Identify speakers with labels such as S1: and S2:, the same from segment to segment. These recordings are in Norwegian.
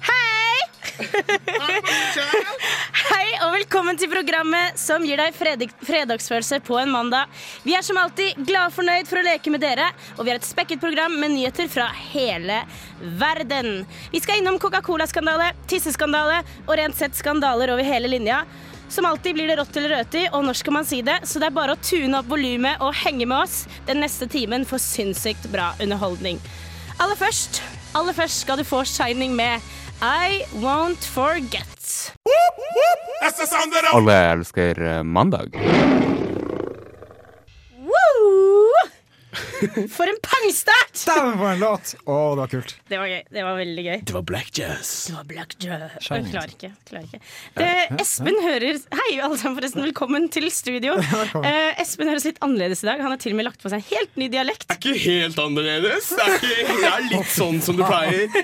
S1: Hei! Hei og velkommen til programmet som gir deg fredag fredagsfølelse på en mandag. Vi er som alltid glad og fornøyd for å leke med dere, og vi har et spekket program med nyheter fra hele verden. Vi skal innom Coca-Cola-skandale, tisseskandale og rent sett skandaler over hele linja. Som alltid blir det rått eller røti, og når skal man si det? Så det er bare å tune opp volumet og henge med oss den neste timen for sinnssykt bra underholdning. Aller først, aller først skal du få Shining med I Won't Forget.
S2: Alle elsker eh, mandag.
S1: Woo! For en pangstart!
S3: Dæven, for en låt! Å, det var kult.
S1: Det var gøy. Det var veldig gøy.
S4: Det var black jazz.
S1: Det var Black Jack. Jeg
S3: Shining.
S1: klarer ikke. klarer ikke. Det, Espen hører Hei, alle sammen, forresten. Velkommen til studio. Eh, Espen høres litt annerledes i dag. Han har til og med lagt på seg en helt ny dialekt.
S4: Ikke helt annerledes. Det er, ikke, det er litt sånn som du pleier.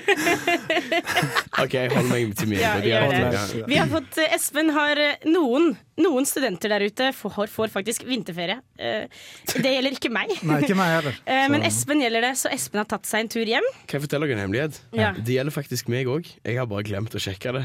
S4: OK, jeg holder meg til mine.
S1: Ja,
S4: de er-
S1: gjør det.
S4: ja.
S1: Vi har fått, eh, Espen har eh, noen, noen studenter der ute får, får faktisk vinterferie. Eh, Det gjelder ikke meg.
S3: Nei, ikke meg heller.
S1: Eh, Men
S3: Så-
S1: Espen gjelder det, så Espen har tatt seg en tur hjem.
S4: Kan jeg fortelle dere en hemmelighet?
S1: Ja.
S4: Det gjelder faktisk meg òg. Jeg har bare glemt å sjekke det.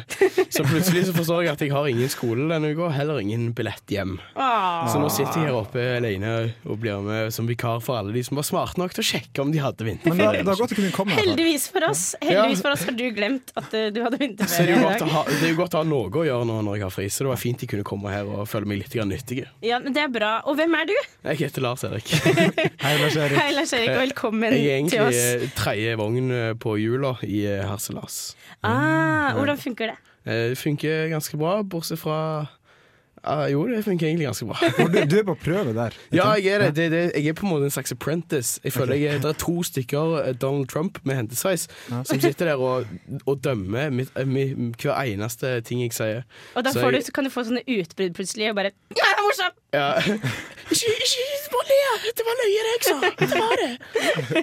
S4: Så plutselig så forstår jeg at jeg har ingen skole denne uka, heller ingen billett hjem.
S1: Åh.
S4: Så nå sitter jeg her oppe alene og blir med som vikar for alle de som var smarte nok til å sjekke om de hadde
S3: Men det,
S4: vinterferie.
S3: det var godt du kunne komme. i hvert fall.
S1: Heldigvis for oss Heldigvis for oss har du glemt at eh, du hadde
S4: Så det er, jo
S1: vinterferie. i
S4: godt å
S1: dag.
S4: ha, det er jo godt å ha noe å gjøre nå når jeg har fri, så det var fint de kunne komme her og føle meg litt grann nyttige.
S1: Ja, men det er bra. Og hvem er du?
S4: Jeg heter Lars Erik.
S3: Hei, Lars Erik.
S1: Hei, Lars Erik. Velkommen
S4: Eh, Jeg er
S1: til
S4: egentlig
S1: oss.
S4: eh, tredje vogn eh, på hjula i eh, Harselas. mm,
S1: Ah, hvordan funker det?
S4: Eh, Det funker ganske bra, bortsett fra ah, Jo, det funker egentlig ganske bra.
S3: For Du, du er på prøve der.
S4: Ja, jeg er det. det, det jeg er på en måte en slags apprentice. Jeg føler jeg er, Det er to stykker eh, Donald Trump med hentesveis som sitter der og, og dømmer mitt, eh, mi- hver eneste ting jeg sier.
S1: Og da
S4: Så
S1: får du,
S4: jeg-
S1: så kan du få sånne utbrudd plutselig og bare Ja, det er morsomt!
S4: Ja. Ikke, ikke bare le! Det var løye, det jeg sa! Det var det!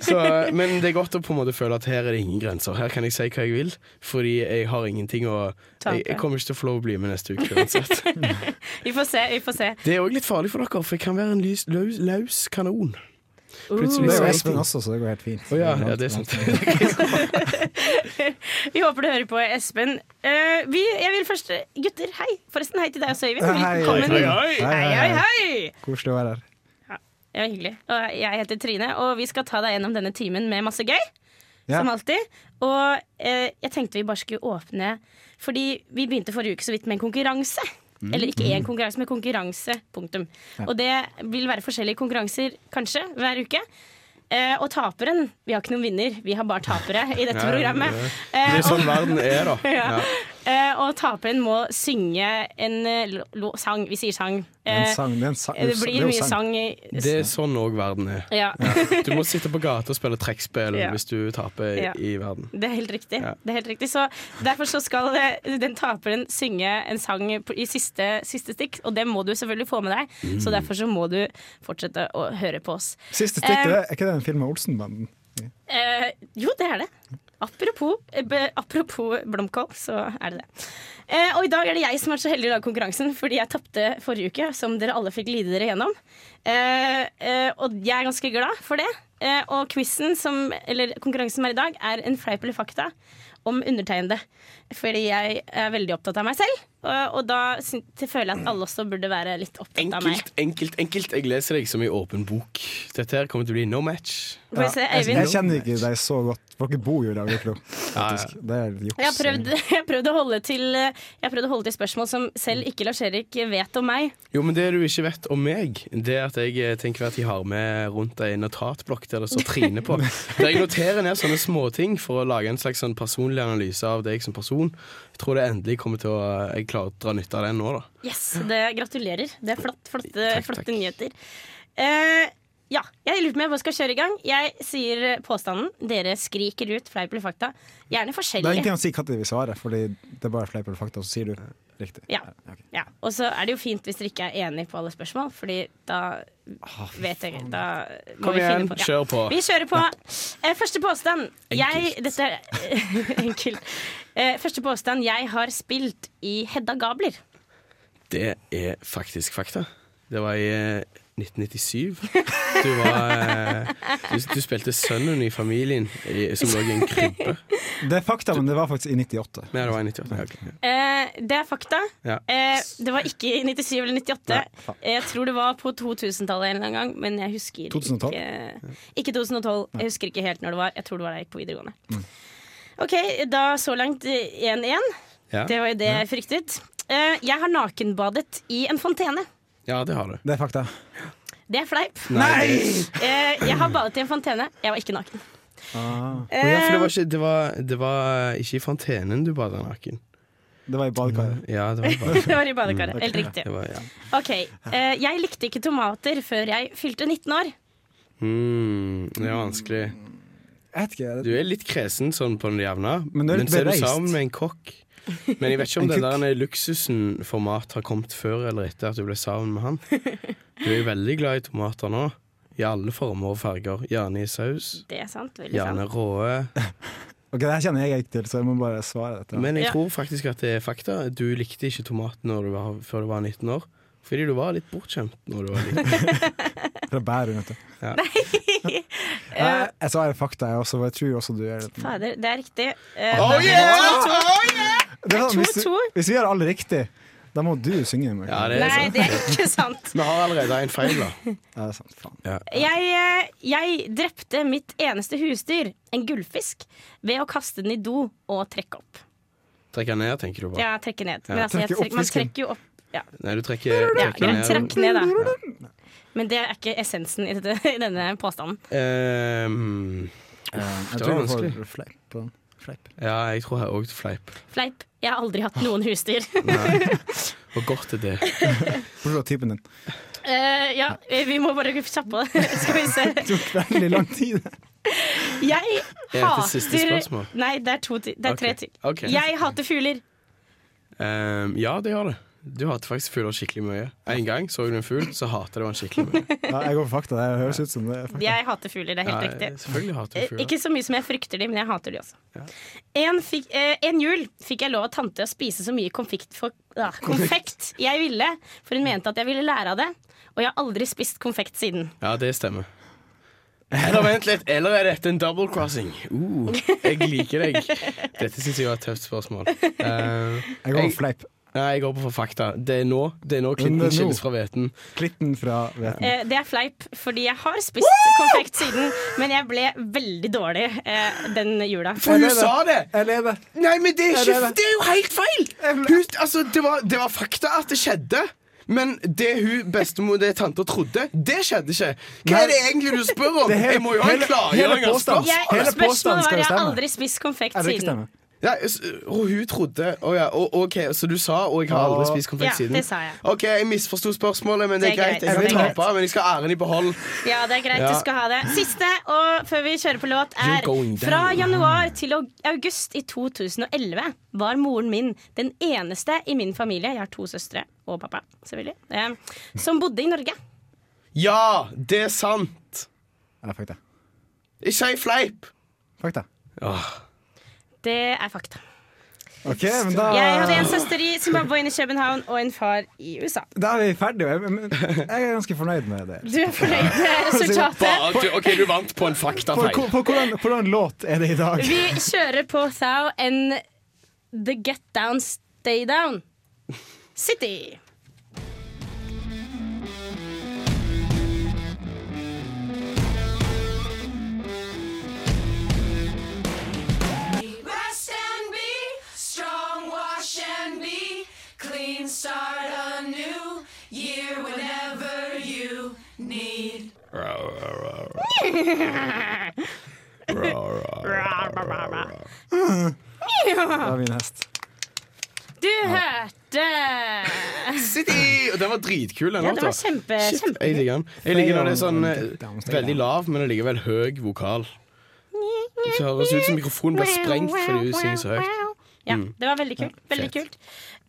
S4: Så, men det er godt å på en måte føle at her er det ingen grenser. Her kan jeg si hva jeg vil, fordi jeg har ingenting å Jeg, jeg kommer ikke til å få lov å bli med neste uke uansett.
S1: Vi får se, vi får se.
S4: Det er òg litt farlig for dere, for jeg kan være en lys, løs, løs kanon.
S3: Det
S1: Uh,
S4: Plutselig så
S3: er jo
S4: er
S3: Espen
S4: jeg-
S3: også, så det går helt fint.
S4: Å ja, ja, det er sant.
S1: Vi håper du hører på, Espen. Eh, vi, jeg vil først Gutter, hei! Forresten, hei til deg også, Øyvind.
S3: Hei,
S1: Velkommen.
S4: hei,
S1: hei,
S4: hei.
S1: hei, hei, hei.
S3: Koselig å være her.
S1: Ja, hyggelig. Og jeg heter Trine, og vi skal ta deg gjennom denne timen med masse gøy.
S3: Ja.
S1: Som alltid. Og eh, jeg tenkte vi bare skulle åpne Fordi vi begynte forrige uke så vidt med en konkurranse.
S4: Mm.
S1: Eller ikke én konkurranse, men konkurranse. Punktum. Og det vil være forskjellige konkurranser, kanskje, hver uke. Eh, og taperen Vi har ikke noen vinner, vi har bare tapere i dette
S4: Ja, ja,
S1: programmet.
S4: ja.
S1: Eh,
S4: Det er
S1: og-
S4: sånn verden er, da. Ja.
S1: Eh, og taperen må synge en eh, lo- lo- sang. Vi sier sang.
S3: Det er
S1: Eh,
S3: En sang, det er en sang.
S1: det blir
S3: er jo
S1: mye sang. i-
S4: Det er sånn òg verden er.
S1: ja,
S4: Du må sitte på gata og spille trekkspill
S1: Ja.
S4: hvis du taper i,
S1: Ja.
S4: i verden.
S1: det er helt riktig.
S4: Ja.
S1: Det er helt riktig. Så derfor så skal eh, den taperen synge en sang på- i siste, siste stikk, og det må du selvfølgelig få med deg. Så derfor så må du fortsette å høre på oss.
S3: Siste stikk, det er er ikke det en film med Olsenbanden?
S1: Eh, jo, det er det. Apropos, eh, be, apropos blomkål, så er det det. Eh, og i dag er det jeg som er så heldig å lage konkurransen, fordi jeg tapte forrige uke, som dere alle fikk lide dere gjennom. Eh, eh, og jeg er ganske glad for det. Eh, og quizen som, eller konkurransen som er i dag, er en fleip eller fakta om undertegnede. Fordi jeg er veldig opptatt av meg selv, og, og da syn- føler jeg at alle også burde være litt opptatt av meg.
S4: Enkelt, enkelt, enkelt. Jeg leser deg som i åpen bok. Dette her kommer til å bli no match.
S1: Får vi se, Eivind?
S3: Jeg kjenner ikke deg så godt. Dere bor jo i lag, Oslo. Faktisk. Det er juks.
S1: Jeg har prøvd, jeg har prøvd, å, holde til, eh, jeg har prøvd å holde til spørsmål som selv ikke Lars-Erik vet om meg.
S4: Jo, men Det du ikke vet om meg, Det er at jeg eh, tenker at jeg har med rundt ei notatblokk der det står Trine på. Der jeg noterer ned sånne småting for å lage en slags sånn personlig analyse av deg som person. Jeg tror det endelig kommer til å eh, Jeg klarer å dra nytte av den nå, da.
S1: Yes, det Gratulerer. Det er flott, flotte,
S4: Takk,
S1: flotte
S4: takk.
S1: nyheter. Eh, ja, jeg lurer på om jeg bare skal kjøre i gang. Jeg sier eh, påstanden. Dere skriker ut fleip eller fakta. Gjerne
S3: Det er
S1: forskjellige.
S3: ingenting å si når vi svarer, Fordi det er bare fleip eller fakta, så sier du Riktig.
S1: Ja.
S3: Ok.
S1: ja. Og så er det jo fint hvis dere ikke er enige på alle spørsmål, Fordi da vet jeg Da må
S4: Ah, Kom
S1: vi
S4: igjen,
S1: finne på
S4: kjør på.
S1: Vi kjører på. Eh, Første påstand. Jeg, dette er enkelt. Eh, Første påstand. Jeg har spilt i Hedda Gabler.
S4: Det er faktisk fakta. Det var i eh, 1997. Du var eh, Du, du spilte sønnen i familien i, som lå i en krybbe.
S3: Det er fakta, men det var faktisk i 98.
S4: Nei, det var i 98. Ja, ok.
S1: Eh, Det er fakta.
S4: Ja.
S1: Eh, Det var ikke i 97 eller 98.
S3: Nei, faen.
S1: Jeg tror det var på 2000-tallet en eller annen gang, men jeg husker
S3: 2012?
S1: ikke Ikke 2012. Jeg husker ikke helt når det var. Jeg tror det var da jeg gikk på videregående. OK, da så langt eh, 1-1.
S4: Ja.
S1: Det var jo det jeg fryktet. Eh, Jeg har nakenbadet i en fontene.
S4: ja, det har du.
S3: Det er fakta.
S1: Det er fleip.
S4: Nei!
S1: Eh, Jeg har badet i en fontene. Jeg var ikke naken.
S3: Ah,
S4: Å ja, for det var ikke, det var, det var eh, ikke i fontenen du bada naken.
S3: det var i badekaret.
S4: Ja, det var bare
S1: Eh, Det var i badekaret. Helt riktig.
S4: det var, Mm, ja.
S1: OK. eh, Jeg likte ikke tomater før jeg fylte 19 år.
S4: Mm, det var vanskelig.
S3: Jeg vet ikke.
S4: Du er litt kresen sånn på den jevne,
S3: Men
S4: men,
S3: du er litt
S4: så er du
S3: bereist.
S4: sammen med en kokk. Men jeg vet ikke om
S3: En
S4: den
S3: kokk.
S4: der luksusen for mat har kommet før eller etter at du ble sammen med han. Du er jo veldig glad i tomater nå. I alle former og farger. Gjerne i saus,
S1: Det er sant. Veldig sant.
S4: gjerne råe.
S3: Ok, Det her kjenner jeg ikke til, så jeg må bare svare dette.
S4: Men jeg
S1: Ja.
S4: tror faktisk at det er fakta. Du likte ikke tomat når du var, før du var 19 år. Fordi du var litt bortskjemt når du var liten.
S3: Fra Bærum, vet du.
S4: Ja.
S3: Nei, Jeg svarer fakta, jeg også, og jeg tror også du gjør det.
S1: Fader, det er riktig. Eh,
S4: Oh,
S3: det er sånn, hvis, du,
S1: 2-2.
S3: hvis vi gjør alle riktig, da må du synge. Markus.
S4: Ja, det er
S1: Nei,
S4: sant.
S1: det er ikke sant.
S4: Vi har allerede en feil, da.
S3: Ja, det er sant, faen.
S1: Jeg, eh, jeg drepte mitt eneste husdyr, en gullfisk, ved å kaste den i do og trekke opp.
S4: Trekker ned, tenker du på.
S1: Ja, trekke ned. Men
S4: Ja,
S1: altså, jeg
S3: trekke opp
S1: trekker, man
S3: fisken.
S1: trekker jo opp ja,
S4: Nei, du trekker,
S1: ja,
S4: trekker
S1: greit,
S4: ned.
S1: trakk ned, da. Men det er ikke essensen i, dette, i denne påstanden.
S4: Ehm,
S3: Eh, Jeg
S4: det
S3: tror
S4: var
S3: jeg
S4: vanskelig.
S3: får fleip på den. Fleip.
S4: ja, jeg tror jeg òg fleip.
S1: Fleip. Jeg har aldri hatt noen husdyr.
S4: Og godt er det.
S3: Hvor lå typen din?
S1: Eh, ja, eh, vi må bare kjappe det. Skal vi se.
S3: Det tok veldig lang tid.
S1: Jeg
S4: Er dette siste
S1: hater
S4: spørsmål?
S1: Nei, det er, to, ti- det er tre
S4: Ok,
S1: til.
S4: ok.
S1: Jeg hater fugler.
S4: Ehm, ja, det gjør det. Du hater faktisk fugler skikkelig mye. En gang så du en fugl, så hater du den skikkelig mye.
S3: Ja, jeg går for fakta. Det høres ut som det er fakta.
S1: Jeg hater fugler, det er helt
S4: Ja,
S1: riktig.
S4: selvfølgelig hater du
S1: Eh,
S4: fugler.
S1: Ikke så mye som jeg frykter de, men jeg hater de også.
S4: Ja.
S1: En, fikk, eh, en jul fikk jeg lov av tante å spise så mye konfekt, for, ah, konfekt jeg ville, for hun mente at jeg ville lære av det. Og jeg har aldri spist konfekt siden.
S4: Ja, det stemmer. Eller vent litt, eller er dette en double crossing? Uh, jeg liker deg. Dette syns jeg var et tøft spørsmål. Ehm,
S3: Jeg går for fleip.
S4: nei, jeg går på for fakta. Det er nå det er nå
S3: Men det
S4: klinten
S3: er nå.
S4: skilles fra hveten.
S3: Klitten fra
S4: Mm.
S3: Veten.
S1: Eh, det er fleip, fordi jeg har spist konfekt siden, men jeg ble veldig dårlig eh, den jula.
S4: For hun sa det!
S3: Jeg lever!
S4: Nei, men det er,
S3: Ja,
S4: ikke,
S3: det er
S4: det,
S3: det.
S4: er jo helt feil! Hun, altså, det, var, det var fakta at det skjedde. Men det hun bestemor det tante trodde, det skjedde ikke. Hva
S3: Nei.
S4: er det egentlig du spør om?
S3: Det er hele-
S4: jeg må jo ha en
S3: hele- hele
S4: klargjøring. av
S3: påstand.
S4: spørsmålet.
S1: Jeg,
S3: Altså, Hele påstanden
S1: spørsmålet var
S3: skal jo
S1: jeg har
S3: stemme.
S1: aldri spist konfekt
S3: Er det ikke
S1: siden.
S3: stemmer?
S4: Ja, s- og hun trodde Å ja, og, OK, så du sa Og jeg har aldri
S3: Ja.
S4: spist konfekt
S1: Ja,
S4: siden.
S1: det sa jeg.
S4: OK, jeg misforsto spørsmålet, men det er greit. Jeg
S3: det er
S4: kan
S3: greit.
S4: tape, men jeg skal ha æren i behold.
S1: Ja, det er greit,
S4: Ja.
S1: du skal ha det. Siste, og før vi kjører på låt,
S4: You're
S1: er
S4: going down.
S1: Fra januar til og- august i 2011 var moren min den eneste i min familie Jeg har to søstre og pappa, selvfølgelig. Eh, som bodde i Norge.
S4: Ja, det er sant.
S3: Ja, fakta.
S4: Ikke si fleip.
S3: Fakta.
S4: Åh.
S1: Det er fakta.
S3: OK, men da
S1: Jeg hadde en søster i Zimbabwe, en i København og en far i USA.
S3: Da er vi ferdige. Jeg- men- Jeg er ganske fornøyd med det.
S1: Du er fornøyd med resultatet?
S4: Bare- du- OK, du vant på en
S3: På,
S4: faktafeil.
S3: på, hvordan, hvordan låt er det i dag?
S1: Vi kjører på Thou and The Get Down Stay Down City.
S5: Rest and be strong, wash and be clean. Start a new year whenever you need.
S3: Da er vi nest.
S1: Du hørte
S4: City! Og den var dritkul. Den
S1: Ja,
S4: låta.
S1: det var kjempe,
S4: Shit,
S1: kjempe
S4: Jeg liker den. Jeg liker når det er sånn
S3: Stay
S4: eh,
S3: down, stay
S4: veldig
S3: down.
S4: lav, men allikevel høy vokal. Det høres ut som mikrofonen blir sprengt fordi hun synger så høyt.
S1: Ja, Det var veldig kult. Veldig
S4: Fett.
S1: kult.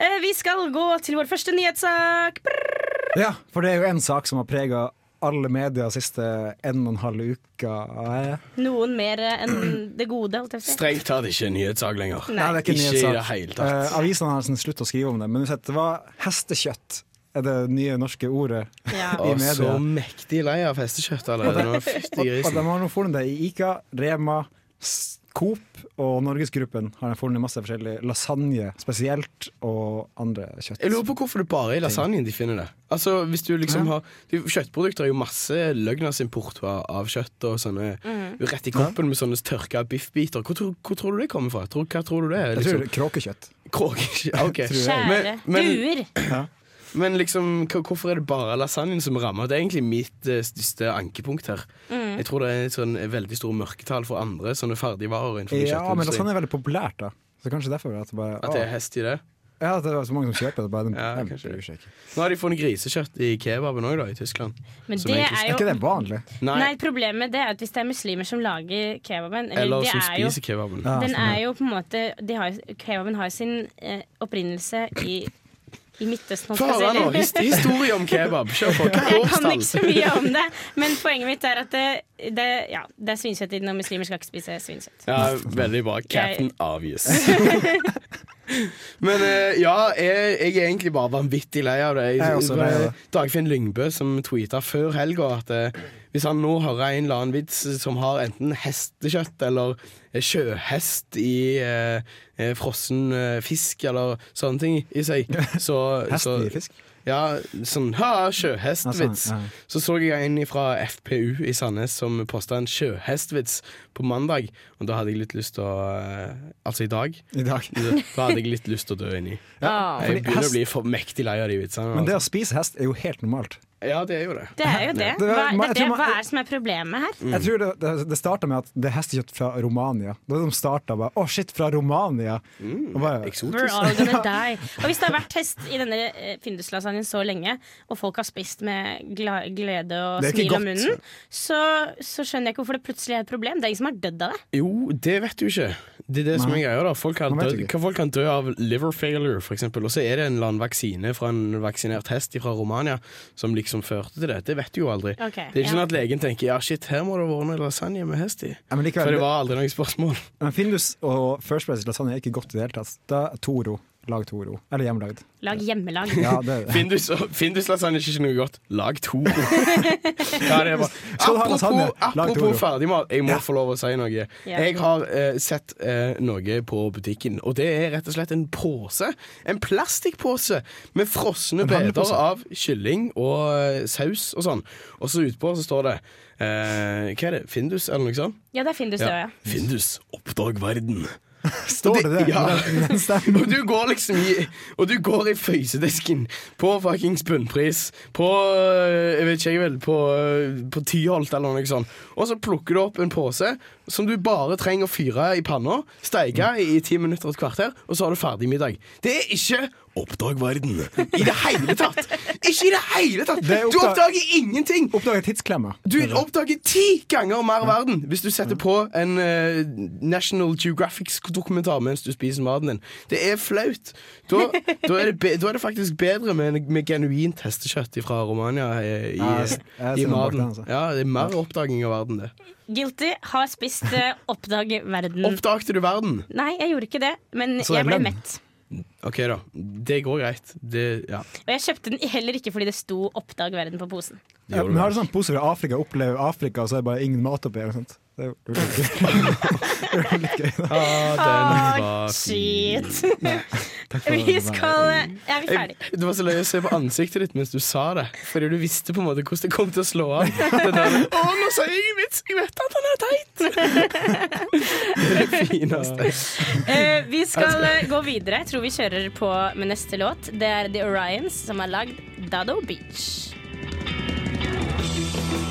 S1: Eh, vi skal gå til vår første nyhetssak. Brr.
S3: Ja, for det er jo en sak som har prega alle medier de siste en og en halv uke. Eh, Nei,
S1: Noen mer eh, enn det gode, holdt jeg på å si.
S4: Strengt tatt ikke en nyhetssak lenger.
S3: Nei, det er ikke, en
S4: Ikke i
S3: nyhetssak.
S4: det hele tatt.
S3: Eh, avisene har nesten sluttet å skrive om det, men uansett, det var hestekjøtt. Er det nye norske ordet?
S1: Ja.
S4: Og
S3: media.
S4: så mektig lei av hestekjøtt allerede nå. Fytti
S3: Og, og de
S4: grisen.
S3: har nå funnet det i Ica, Rema, S- Coop og Norgesgruppen. Har de funnet masse forskjellig lasagne spesielt, og andre kjøtt.
S4: Jeg lurer på hvorfor det bare er i lasagnen de finner det. Altså, hvis du liksom har Kjøttprodukter er jo masse løgnasimport av av kjøtt og sånne
S3: Mhm.
S4: Rett i kroppen med sånne tørka biffbiter. Hvor, tror- hvor tror du det kommer fra? Tror, hva tror du det er?
S3: Jeg tror
S4: Liksom?
S3: det er kråkekjøtt.
S4: Kråke- ok.
S3: Tror jeg.
S1: Kjære
S4: Men- men-
S1: duer.
S4: Men liksom, hva- hvorfor er det bare lasagnen som rammer? Det er egentlig mitt eh, største ankepunkt her.
S3: Mhm.
S4: Jeg tror det er et sånn veldig store mørketall for andre sånne ferdigvarer innenfor
S3: Ja, men
S4: kjøttindustrien.
S3: lasagne er veldig populært, da. Så kanskje derfor at det bare
S4: At det
S3: å,
S4: er hest i det.
S3: Ja, at det er så mange som kjøper det. Bare,
S4: Ja,
S3: ja,
S4: kanskje.
S3: bryr seg ikke.
S4: Nå har de funnet grisekjøtt i kebaben òg, da, i Tyskland.
S1: Men
S4: Som
S1: det
S4: egentlig-
S1: er
S3: Er
S1: jo
S3: ikke det vanlig?
S4: Nei,
S1: Nei, problemet det er at hvis det er muslimer som lager kebaben eller
S4: eller
S1: det
S4: som
S1: er jo,
S4: spiser kebaben.
S3: Ja,
S1: Den
S3: sånn, ja.
S1: er jo på en måte de har, jo- Kebaben har jo sin eh, opprinnelse i, i Midtøsten. holdt jeg på å si,
S4: Fara nå,
S1: eller?
S4: his historie om kebab. Kjør på. Hva
S1: Jeg kan liksom- ikke så
S4: årstall?
S1: mye om det, men poenget mitt er at det, det, ja, det er svinekjøtt i den, og muslimer skal ikke spise svinekjøtt.
S4: Ja, veldig bra. Captain Obvious. Men eh, ja, jeg, jeg er egentlig bare vanvittig lei av det. Jeg- Eh,
S3: Jeg er også lei av det.
S4: Dagfinn Lyngbø som tweeta før helga at eh, hvis han nå hører en eller annen vits som har enten hestekjøtt eller eh, sjøhest i eh, eh, frossen eh, fisk eller sånne ting i seg, så
S3: Hest
S4: så-
S3: i fisk?
S4: Ja, sånn ha, sjøhestvits.
S3: Ja, sånn, ja.
S4: Så så jeg en fra FPU i Sandnes som posta en sjøhestvits på mandag. Og da hadde jeg litt lyst til å eh, Altså i dag.
S3: I dag.
S4: Da hadde jeg litt lyst til å dø inni.
S1: Åh.
S4: Jeg
S3: Fordi
S4: begynner
S3: hest-
S4: å bli for mektig lei av de vitsene.
S3: Men det
S4: altså.
S3: å spise hest er jo helt normalt.
S4: Ja, det er jo det.
S1: Det er jo det.
S3: Det
S1: Hva,
S3: var-
S1: det, er
S3: jeg tror
S1: det,
S3: man-
S1: hva er det som er problemet her?
S4: Mm.
S3: Jeg tror det, det, det starta med at det er hestekjøtt fra Romania. Da de starta bare Å, shit, fra Romania!
S4: Mm.
S3: Og bare,
S4: Eksotisk.
S1: We're all gonna die. Og hvis det har vært hest i denne eh, finduslasangen så lenge, og folk har spist med gla glede og
S3: Det er ikke
S1: smil om
S3: godt.
S1: munnen, så, så skjønner jeg ikke hvorfor det plutselig er et problem. Det er ingen som har dødd av det.
S4: Jo, det vet du ikke. Det er det som er
S3: Nei.
S4: greia. da folk kan,
S3: Man vet
S4: dø,
S3: ikke.
S4: kan folk kan dø av liver failure, f.eks. Og så er det en eller annen vaksine fra en vaksinert hest fra Romania som liksom førte til det. Det vet du jo aldri.
S1: Ok,
S4: det er ikke
S1: ja.
S4: sånn at legen tenker ja, shit, her må det ha vært en lasagne med hest i.
S3: ja, men
S4: For
S3: likevel,
S4: det var aldri noe spørsmål.
S3: men Findus og First Place lasagne er ikke godt i det hele tatt. Da er Toro. Lag Toro. Eller hjemmelagd.
S1: Lag hjemmelag.
S3: Ja, det er det.
S4: Findus, Findus lasagne er ikke noe godt. Lag to. ja, det er bra.
S3: Skal du ha lasagne?
S4: Apropos,
S3: Lag Toro.
S4: apropos ferdigmat, jeg må få lov å si noe. Jeg har eh, sett eh, noe på butikken, og det er rett og slett en pose. En plastikkpose med frosne biter
S3: handlepose.
S4: av kylling og eh, saus og sånn. Og så utpå så står det eh, Hva er det? Findus, eller noe sånt?
S1: Ja, det er Findus, det òg, ja.
S4: Findus, oppdag verden.
S3: Står det det?
S4: Ja.
S3: Den stemmer.
S4: Og du går liksom i Og du går i frysedisken på fuckings bunnpris. På øh, Jeg vet ikke, jeg vel. På, øh, på Tyholt eller noe sånt. Og så plukker du opp en pose som du bare trenger å fyre i panna, steike
S3: Mm.
S4: i ti minutter og et kvarter, og så har du ferdig middag. Det er ikke Oppdag verden. I det hele tatt! Ikke i det hele tatt!
S3: Det er
S4: Du
S3: oppdag-
S4: oppdager ingenting!
S3: Oppdaget tidsklemma.
S4: Du oppdager ti ganger mer verden hvis du setter på en eh, National Geographic-dokumentar mens du spiser maten din. Det er flaut. Da, da, er, det be, da er det faktisk bedre med, en- med genuint hestekjøtt fra Romania eh, i,
S3: Ja, jeg ser- jeg
S4: i
S3: ser den bak
S4: maten.
S3: den, altså.
S4: Ja, det er mer oppdaging av verden, det.
S1: Guilty har spist eh, Oppdag verden.
S4: Oppdagte du verden?
S1: Nei, jeg gjorde ikke det, men
S3: Så det er
S1: jeg ble
S3: løgn.
S1: mett.
S4: OK, da. Det går greit. Det, ja.
S1: Og jeg kjøpte den heller ikke fordi det sto 'Oppdag verden' på posen.
S4: Det
S3: Ja,
S4: gjorde
S3: men
S4: du.
S3: har du sånn pose fra Afrika, opplever Afrika, og så er det bare ingen mat oppi? eller noe sånt? Det er jo litt gøy. Det er jo litt gøy. da.
S4: Ah, den
S1: Åh,
S4: var fin.
S1: shit.
S3: Takk for
S1: Vi
S3: det.
S1: skal Er vi
S4: Jeg,
S1: ferdig?
S4: det var så løye å se på ansiktet ditt mens du sa det. Fordi du visste på en måte hvordan det kom til å slå av. Det der, Å, nå sier jeg en vits! Jeg vet at han er teit! Det er det fineste.
S1: Eh, vi skal eh, gå videre. Jeg tror vi kjører på med neste låt. Det er The Orions som har lagd Dado Beach. Woo! OK.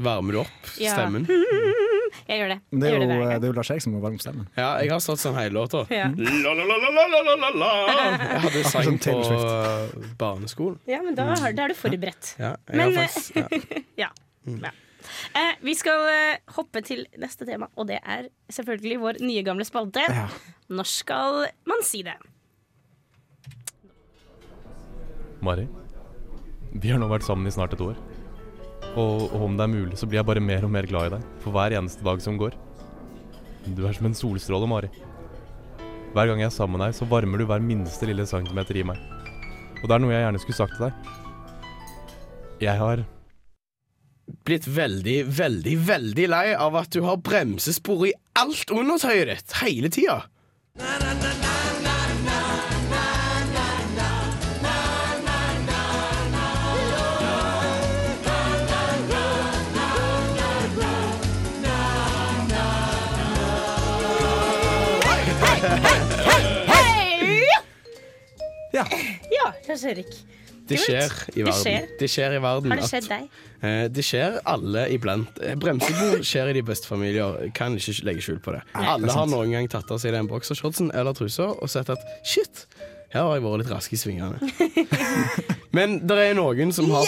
S4: Varmer du opp
S1: Ja. Mm.
S4: stemmen?
S1: Jeg gjør det.
S3: Men det
S1: Jeg
S3: er
S1: gjør
S3: jo, eh,
S1: det hver
S3: det
S1: gang.
S3: er jo Lars Erik som må varme opp stemmen.
S4: Ja, jeg har stått sånn hele låta.
S1: Ja.
S4: La-la-la-la-la-la-la-la. Jeg hadde
S3: Akkurat
S4: sang
S3: som
S4: på
S3: Taylor
S4: eh, barneskolen.
S1: ja, men da, har, da er du forberedt.
S4: Ja, jeg
S1: Men, eh,
S4: har faktisk,
S1: Ja.
S4: ja.
S1: ja. Eh, vi skal eh, hoppe til neste tema, og det er selvfølgelig vår nye gamle spalte.
S3: Ja.
S1: Når skal man si det?
S6: Mari, vi har nå vært sammen i snart et år. Og, og om det er mulig, så blir jeg bare mer og mer glad i deg for hver eneste dag som går. Du er som en solstråle, Mari. Hver gang jeg er sammen med deg, så varmer du hver minste lille centimeter i meg. Og det er noe jeg gjerne skulle sagt til deg. Jeg har
S4: blitt veldig, veldig, veldig lei av at du har bremsespor i alt undertøyet ditt hele tida.
S1: Hei!
S3: Ja.
S1: Ja, Lars Erik.
S4: Det skjer i
S1: Det skjer.
S4: verden. Det skjer i verden
S1: Har det
S4: at-
S1: skjedd deg?
S4: Eh, det skjer alle iblant. Eh, Bremsebord skjer i de beste familier. Kan ikke legge skjul på det. Alle har noen gang tatt av seg den boksershortsen eller trusa og sett at shit, her har jeg vært litt rask i svingene. Men det er noen som har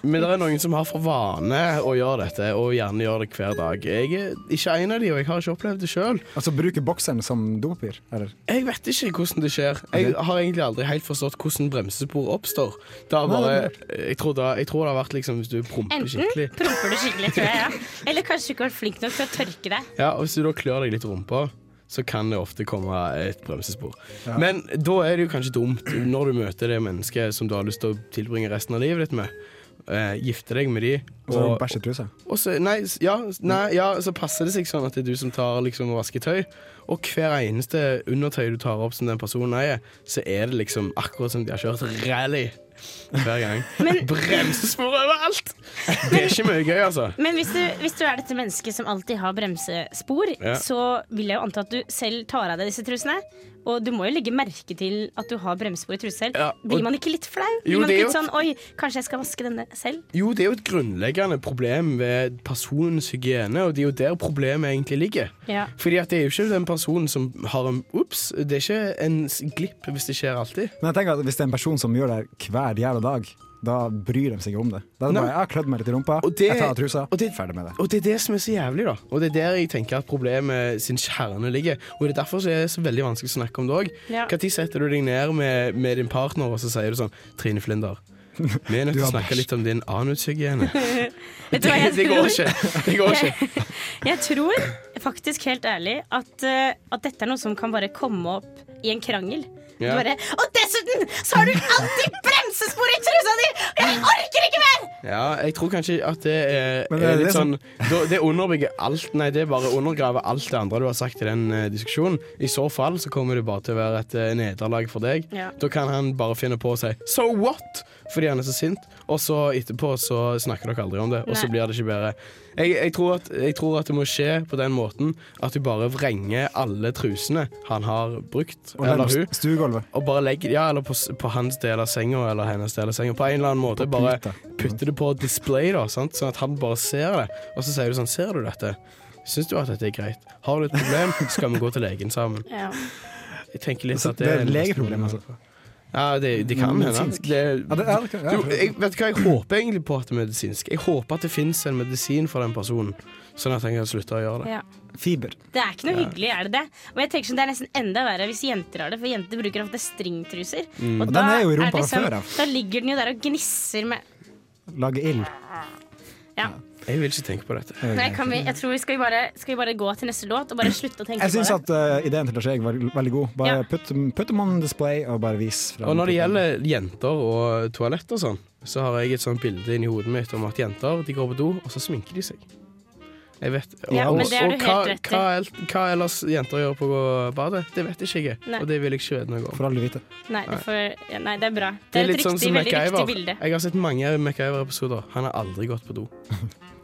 S4: Men det er noen som har for vane å gjøre dette, og gjerne gjør det hver dag. Jeg er ikke en av de, og jeg har ikke opplevd det sjøl.
S3: Altså bruke bokseren som dopapir? Eller?
S4: Jeg vet ikke hvordan det skjer. Jeg har egentlig aldri helt forstått hvordan bremsespor oppstår. Det har bare, jeg, tror det, jeg tror det har vært liksom hvis du promper
S1: Enten
S4: skikkelig.
S1: promper du skikkelig, tror jeg, ja. eller kanskje du ikke har vært flink nok til å tørke deg.
S4: Ja, og Hvis du da klør deg litt i rumpa, så kan det ofte komme et bremsespor. Men da er det jo kanskje dumt når du møter det mennesket som du har lyst til å tilbringe resten av livet ditt med. Eh, gifte deg med de
S3: Og så bæsj i trusa?
S4: Og så, nei, s- ja, s- nei, ja, så passer det seg sånn at det er du som tar liksom, og vasker tøy. Og hver eneste undertøy du tar opp som den personen eier, så er det liksom akkurat som de har kjørt rally hver gang. Bremsespor overalt! Det er ikke mye gøy, altså.
S1: Men hvis du, hvis du er dette mennesket som alltid har bremsespor,
S4: Ja.
S1: så vil jeg jo anta at du selv tar av deg disse trusene. Og du må jo legge merke til at du har bremsespor i truser selv.
S4: Ja, og-
S1: Blir man ikke litt flau? Blir
S4: Jo,
S1: man
S4: det
S1: ikke
S4: er jo-
S1: litt sånn Oi, kanskje jeg skal vaske denne selv?
S4: Jo, det er jo et grunnleggende problem ved personens hygiene, og det er jo der problemet egentlig ligger.
S1: Ja.
S4: Fordi at det er jo ikke den personen som har en Ops! Det er ikke en s- glipp hvis det skjer alltid.
S3: Men jeg tenker at hvis det er en person som gjør det her hver jævla dag, da bryr de seg ikke om det. Da er det
S4: Nei.
S3: bare, jeg har klødd meg litt i rumpa,
S4: Og det-
S3: jeg tar av trusa,
S4: og det-
S3: ferdig med det.
S4: Og det er det som er så jævlig, da. Og det er der jeg tenker at problemet sin kjerne ligger. Og det er derfor så er det så veldig vanskelig å snakke om det òg.
S1: Ja.
S4: Når setter du deg ned med, med din partner og så sier du sånn Trine Flinder, vi er nødt
S3: Du
S4: til å
S3: har
S4: snakke
S3: bæsj.»
S4: litt om din anushygiene.
S1: Vet du
S4: Det,
S1: hva jeg
S4: det går
S1: tror?
S4: ikke. Det går ikke.
S1: Jeg tror faktisk helt ærlig at, eh, at dette er noe som kan bare komme opp i en krangel.
S4: Ja.
S1: Du bare, og dessuten så har du alltid bremsespor i trusa di! og Jeg orker ikke mer!
S4: Ja, jeg tror kanskje at det er,
S3: Men det
S4: er
S3: er
S4: litt
S3: det som-
S4: sånn da- Det underbygger alt Nei, det bare undergraver alt det andre du har sagt i den eh, diskusjonen. I så fall så kommer det bare til å være et eh, nederlag for deg.
S1: Ja.
S4: Da kan han bare finne på å si 'so what?' fordi han er så sint, og så etterpå så snakker dere aldri om det, og så
S1: Nei.
S4: blir det ikke bedre. Jeg, jeg, tror at, jeg tror at det må skje på den måten at du bare vrenger alle trusene han har brukt,
S3: Og
S4: eller hun,
S3: den stuegulvet.
S4: og bare legger Ja, eller på, s- på hans del av senga eller hennes del av senga. På en eller annen måte.
S3: På
S4: Bare
S3: puta.
S4: putter det på display, da, sant? sånn at han bare ser det. Og så sier du sånn Ser du dette? Syns du at dette er greit? Har du et problem, skal vi gå til legen sammen.
S1: Ja.
S4: Jeg tenker litt
S3: Så
S4: at
S3: Altså, det er
S4: en-
S3: legeproblem, altså.
S4: Ja, det, det kan hende.
S3: Medisinsk.
S4: Det,
S3: Ja, det, ja, det,
S4: du,
S3: kan- ja.
S4: jeg, vet du hva, jeg håper egentlig på at det er medisinsk. Jeg håper at det fins en medisin for den personen, sånn at han kan slutte å gjøre det.
S1: Ja.
S3: Fiber.
S1: Det er ikke noe hyggelig, er det det? Og jeg tenker sånn, Det er nesten enda verre hvis jenter har det, for jenter bruker ofte stringtruser.
S3: Mm. Og den er jo i rumpa
S1: det liksom-
S3: fra før av.
S1: da ligger den jo der og gnisser med
S3: Lage ild. eh,
S1: Ja.
S4: Jeg vil ikke tenke på dette.
S1: Nei, kan vi, jeg tror vi skal, vi bare, skal vi bare gå til neste låt og bare slutte å tenke
S3: Jeg syns
S1: på det?
S3: at eh, ideen til Lars Erik var veldig god.
S1: Ja.
S3: Bare putt, putt dem on display og bare vis. frem.
S4: Og når det gjelder jenter og toalett og sånn, så har jeg et sånt bilde inni hodet mitt om at jenter de går på do, og så sminker de seg. Jeg vet. Og,
S1: Ja, men
S4: og,
S1: det er du
S4: og hva,
S1: helt rett i.
S4: hva, el- hva ellers jenter gjør på badet, det vet ikke jeg.
S1: Nei.
S4: Og det vil jeg ikke vite noe om.
S3: Får aldri vite.
S1: Nei, det får- ja, nei, det er bra. Det er,
S4: Det er
S1: et
S4: litt
S1: riktig,
S4: sånn som
S1: veldig riktig
S4: MacGyver.
S1: bilde.
S4: Jeg har sett mange MacGyver-episoder. Han har aldri gått på do.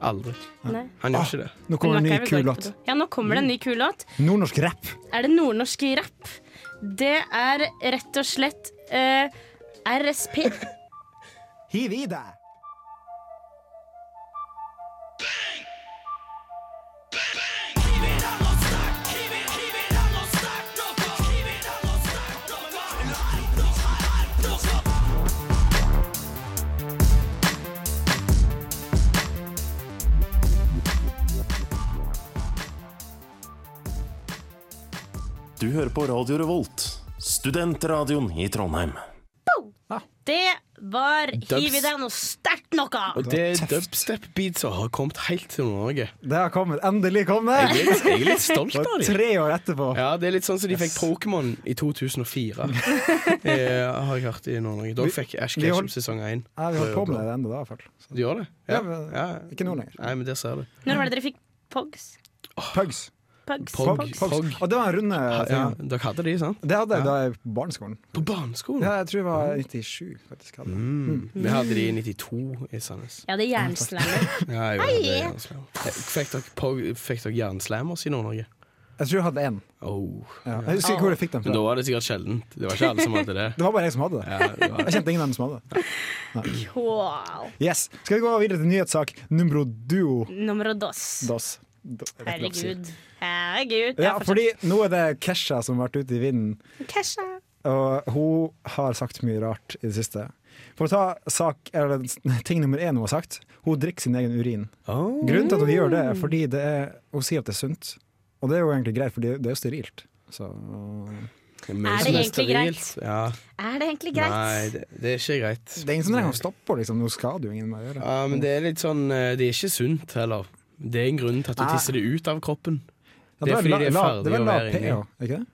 S4: Aldri.
S1: Nei.
S4: Han gjør ikke det.
S3: Nå kommer en ny
S1: MacGyver går
S3: kul
S1: ikke på
S3: låt. Mm.
S1: do. Ja, nå kommer det en ny kul låt.
S3: Nordnorsk rapp.
S1: Er det nordnorsk rapp? Det er rett og slett eh, RSP.
S3: Hiv i deg!
S5: Bang!
S7: Du hører på Radio Revolt, studentradioen i Trondheim.
S1: Det var
S4: Dubs.
S1: Hiv i deg noe sterkt noe!
S4: Og det er dubstep-beatsa har kommet helt til Norge.
S3: Det har kommet. Endelig kom det!
S4: Jeg er litt, jeg er litt stolt av
S3: Og
S4: dem.
S3: Tre år etterpå.
S4: Ja, det er litt sånn som de fikk Pokémon i 2004. Det har jeg hørt i Nord-Norge. Da fikk Ash
S3: vi
S4: Ketchum
S3: holdt-
S4: sesong 1.
S3: Ja, vi holdt på med det ennå da, i hvert fall. Så,
S4: Du gjør det?
S3: Ja, men ikke nå lenger.
S4: Nei, men det ser du.
S1: Når var det dere fikk pogs?
S3: Pugs.
S1: Pugs.
S4: Pog.
S3: Pug- Pugs.
S4: Pog.
S3: Og det var en runde
S4: Ja,
S3: ja.
S4: dere hadde de, sant?
S3: Det hadde jeg da jeg på barneskolen.
S4: På barneskolen?
S3: Ja, jeg tror det var 97, faktisk. Hadde. jeg.
S4: Mm. Vi hadde de i 92 i Sandnes.
S1: Ja, det er jernslammer.
S4: Ja, jeg gjorde det, jernslam. fikk dere, pog, fikk dere jernslammers i Nord-Norge?
S3: Jeg tror jeg hadde én.
S4: Oh.
S3: Ja. Jeg husker ikke hvor jeg fikk den
S4: Men da
S3: fra.
S4: var det sikkert sjeldent. Det var ikke alle som hadde det.
S3: Det var bare jeg som hadde det.
S4: Ja, det var.
S3: Jeg kjente ingen andre som hadde det.
S1: Wow.
S3: Yes. Skal vi gå videre til nyhetssak numero duo
S1: Nummer dos.
S3: dos? Do- jeg vet ikke hva jeg sier.
S1: Herregud. Herregud.
S3: Ja, fordi nå er det Kesha som har vært ute i vinden.
S1: Kesha.
S3: Og hun har sagt mye rart i det siste. For å ta sak, eller, ting nummer én hun har sagt. Hun drikker sin egen urin.
S4: Oh.
S3: Grunnen til at hun gjør det, er fordi det er, hun sier at det er sunt. Og det er jo egentlig greit, for det er jo sterilt. Så
S4: Men
S1: Er det
S4: som
S1: egentlig
S4: sterilt. Ja.
S1: Er det egentlig greit?
S4: Nei, det, det er ikke greit.
S3: det er ingen som trenger å stoppe henne, liksom. Nå skader jo ingen med å gjøre
S4: Ja, men det er litt sånn eh, Det er ikke sunt heller. Det er en grunn til at du
S1: Ah.
S3: Nei.
S4: tisser det ut av kroppen. det
S3: Ja,
S4: er
S3: vel
S4: fordi
S3: la-
S4: de er
S3: la-
S4: ferdig
S3: det er vel
S4: å
S3: la
S4: være
S3: pH,
S4: inni.
S3: er ikke det?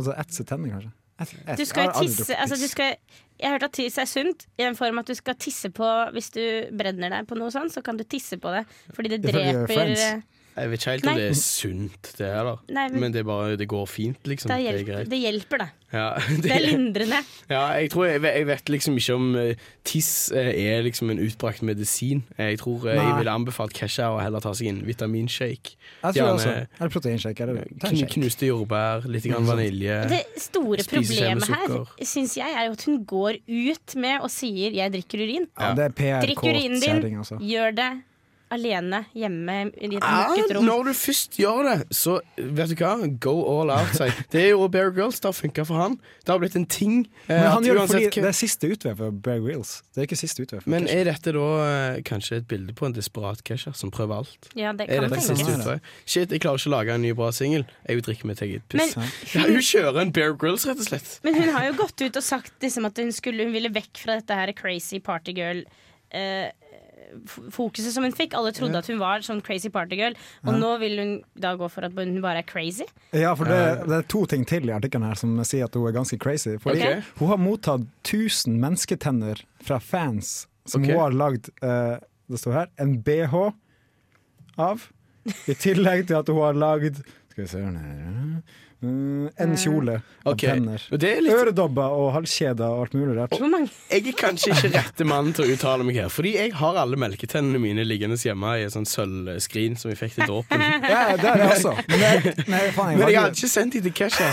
S3: Altså etse tenner, kanskje. Et, et,
S1: Du skal
S3: jeg
S1: jo
S3: har aldri
S1: tisse
S3: drukket
S1: altså, du
S3: piss.
S1: skal, Jeg har hørt at tiss er sunt, i den form at du skal tisse på Hvis du brenner deg på noe sånt, så kan du tisse på det. Fordi det
S3: Ifølge
S1: dreper
S3: Friends.
S1: eh,
S4: Jeg vet ikke helt om
S1: Nei.
S4: det er sunt, det heller.
S1: Nei, men-
S4: men, det er bare det går fint, liksom.
S1: Det
S4: Det er
S1: hjelper,
S4: greit.
S1: det hjelper da.
S4: Ja,
S1: Det er
S4: det,
S1: lindrende.
S4: ja, jeg tror jeg, ve- jeg vet liksom ikke om eh, tiss eh, er liksom en utbrakt medisin. Jeg tror eh, jeg
S3: Nei.
S4: ville anbefalt Kesha å heller ta seg en vitaminshake.
S3: Jeg tror
S4: Gjerne-
S3: også. Eller proteinshake. Eller ta en
S4: Kn,
S3: shake.
S4: knuste jordbær, litt grann vanilje.
S1: Mm. Det store
S4: Spiser ikke
S1: problemet
S4: med
S1: her
S4: sukker.
S1: syns jeg er jo at hun går ut med og sier 'jeg drikker urin'.
S3: Ja, det er
S1: Drikk urinen
S3: PRK-kjerring,
S1: din,
S3: altså.
S1: gjør det alene hjemme i et lukket
S4: Ja,
S1: rom.
S4: Ah, når du først gjør det, så vet du hva, go all out. sier jeg. Det er jo Bear Girls, det har funka for han. Det har blitt en ting. eh,
S3: Men
S4: at
S3: han gjør det
S4: uansett
S3: fordi
S4: hva-
S3: det er siste utvei for Bear Grylls. Det er ikke siste utvei. for
S4: Men
S3: Kesha.
S4: er dette da eh, kanskje et bilde på en desperat Kesha som prøver alt?
S1: Ja, det
S4: Er
S1: kan
S4: dette
S3: tenke
S4: siste
S3: meg.
S4: utvei? Shit, jeg klarer ikke å lage en ny bra singel. Jeg vil drikke mitt eget
S1: Men
S4: piss. Ja, hun kjører en Bear Girls, rett og slett.
S1: Men hun har jo gått ut og sagt liksom, at hun, skulle, hun ville vekk fra dette her crazy partygirl. eh, f- Fokuset som hun fikk. Alle trodde at hun var sånn crazy partygirl. Og nå vil hun da gå for at hun bare er crazy.
S3: Ja, for det,
S4: Eh.
S3: det er to ting til i artikkelen her som sier at hun er ganske crazy. Fordi
S4: Ok.
S3: hun har mottatt 1000 mennesketenner fra fans som
S4: Ok.
S3: hun har lagd eh, Det står her en BH av. I tillegg til at hun har lagd Skal vi se her mm,
S1: Eh.
S3: En kjole av
S4: Ok,
S3: tenner.
S4: og det er litt
S3: Øredobber og halskjeder og alt mulig rart.
S1: Hvor mange?
S4: Jeg er kanskje ikke rette mannen til å uttale meg her, fordi jeg har alle melketennene mine liggende hjemme i en sånn sølvskrin som vi fikk til dåpen.
S3: Ja, det er det også. Men, det, nei, faen,
S4: Men
S3: jeg
S4: jeg
S3: har
S4: hadde ikke sendt de til Kesha.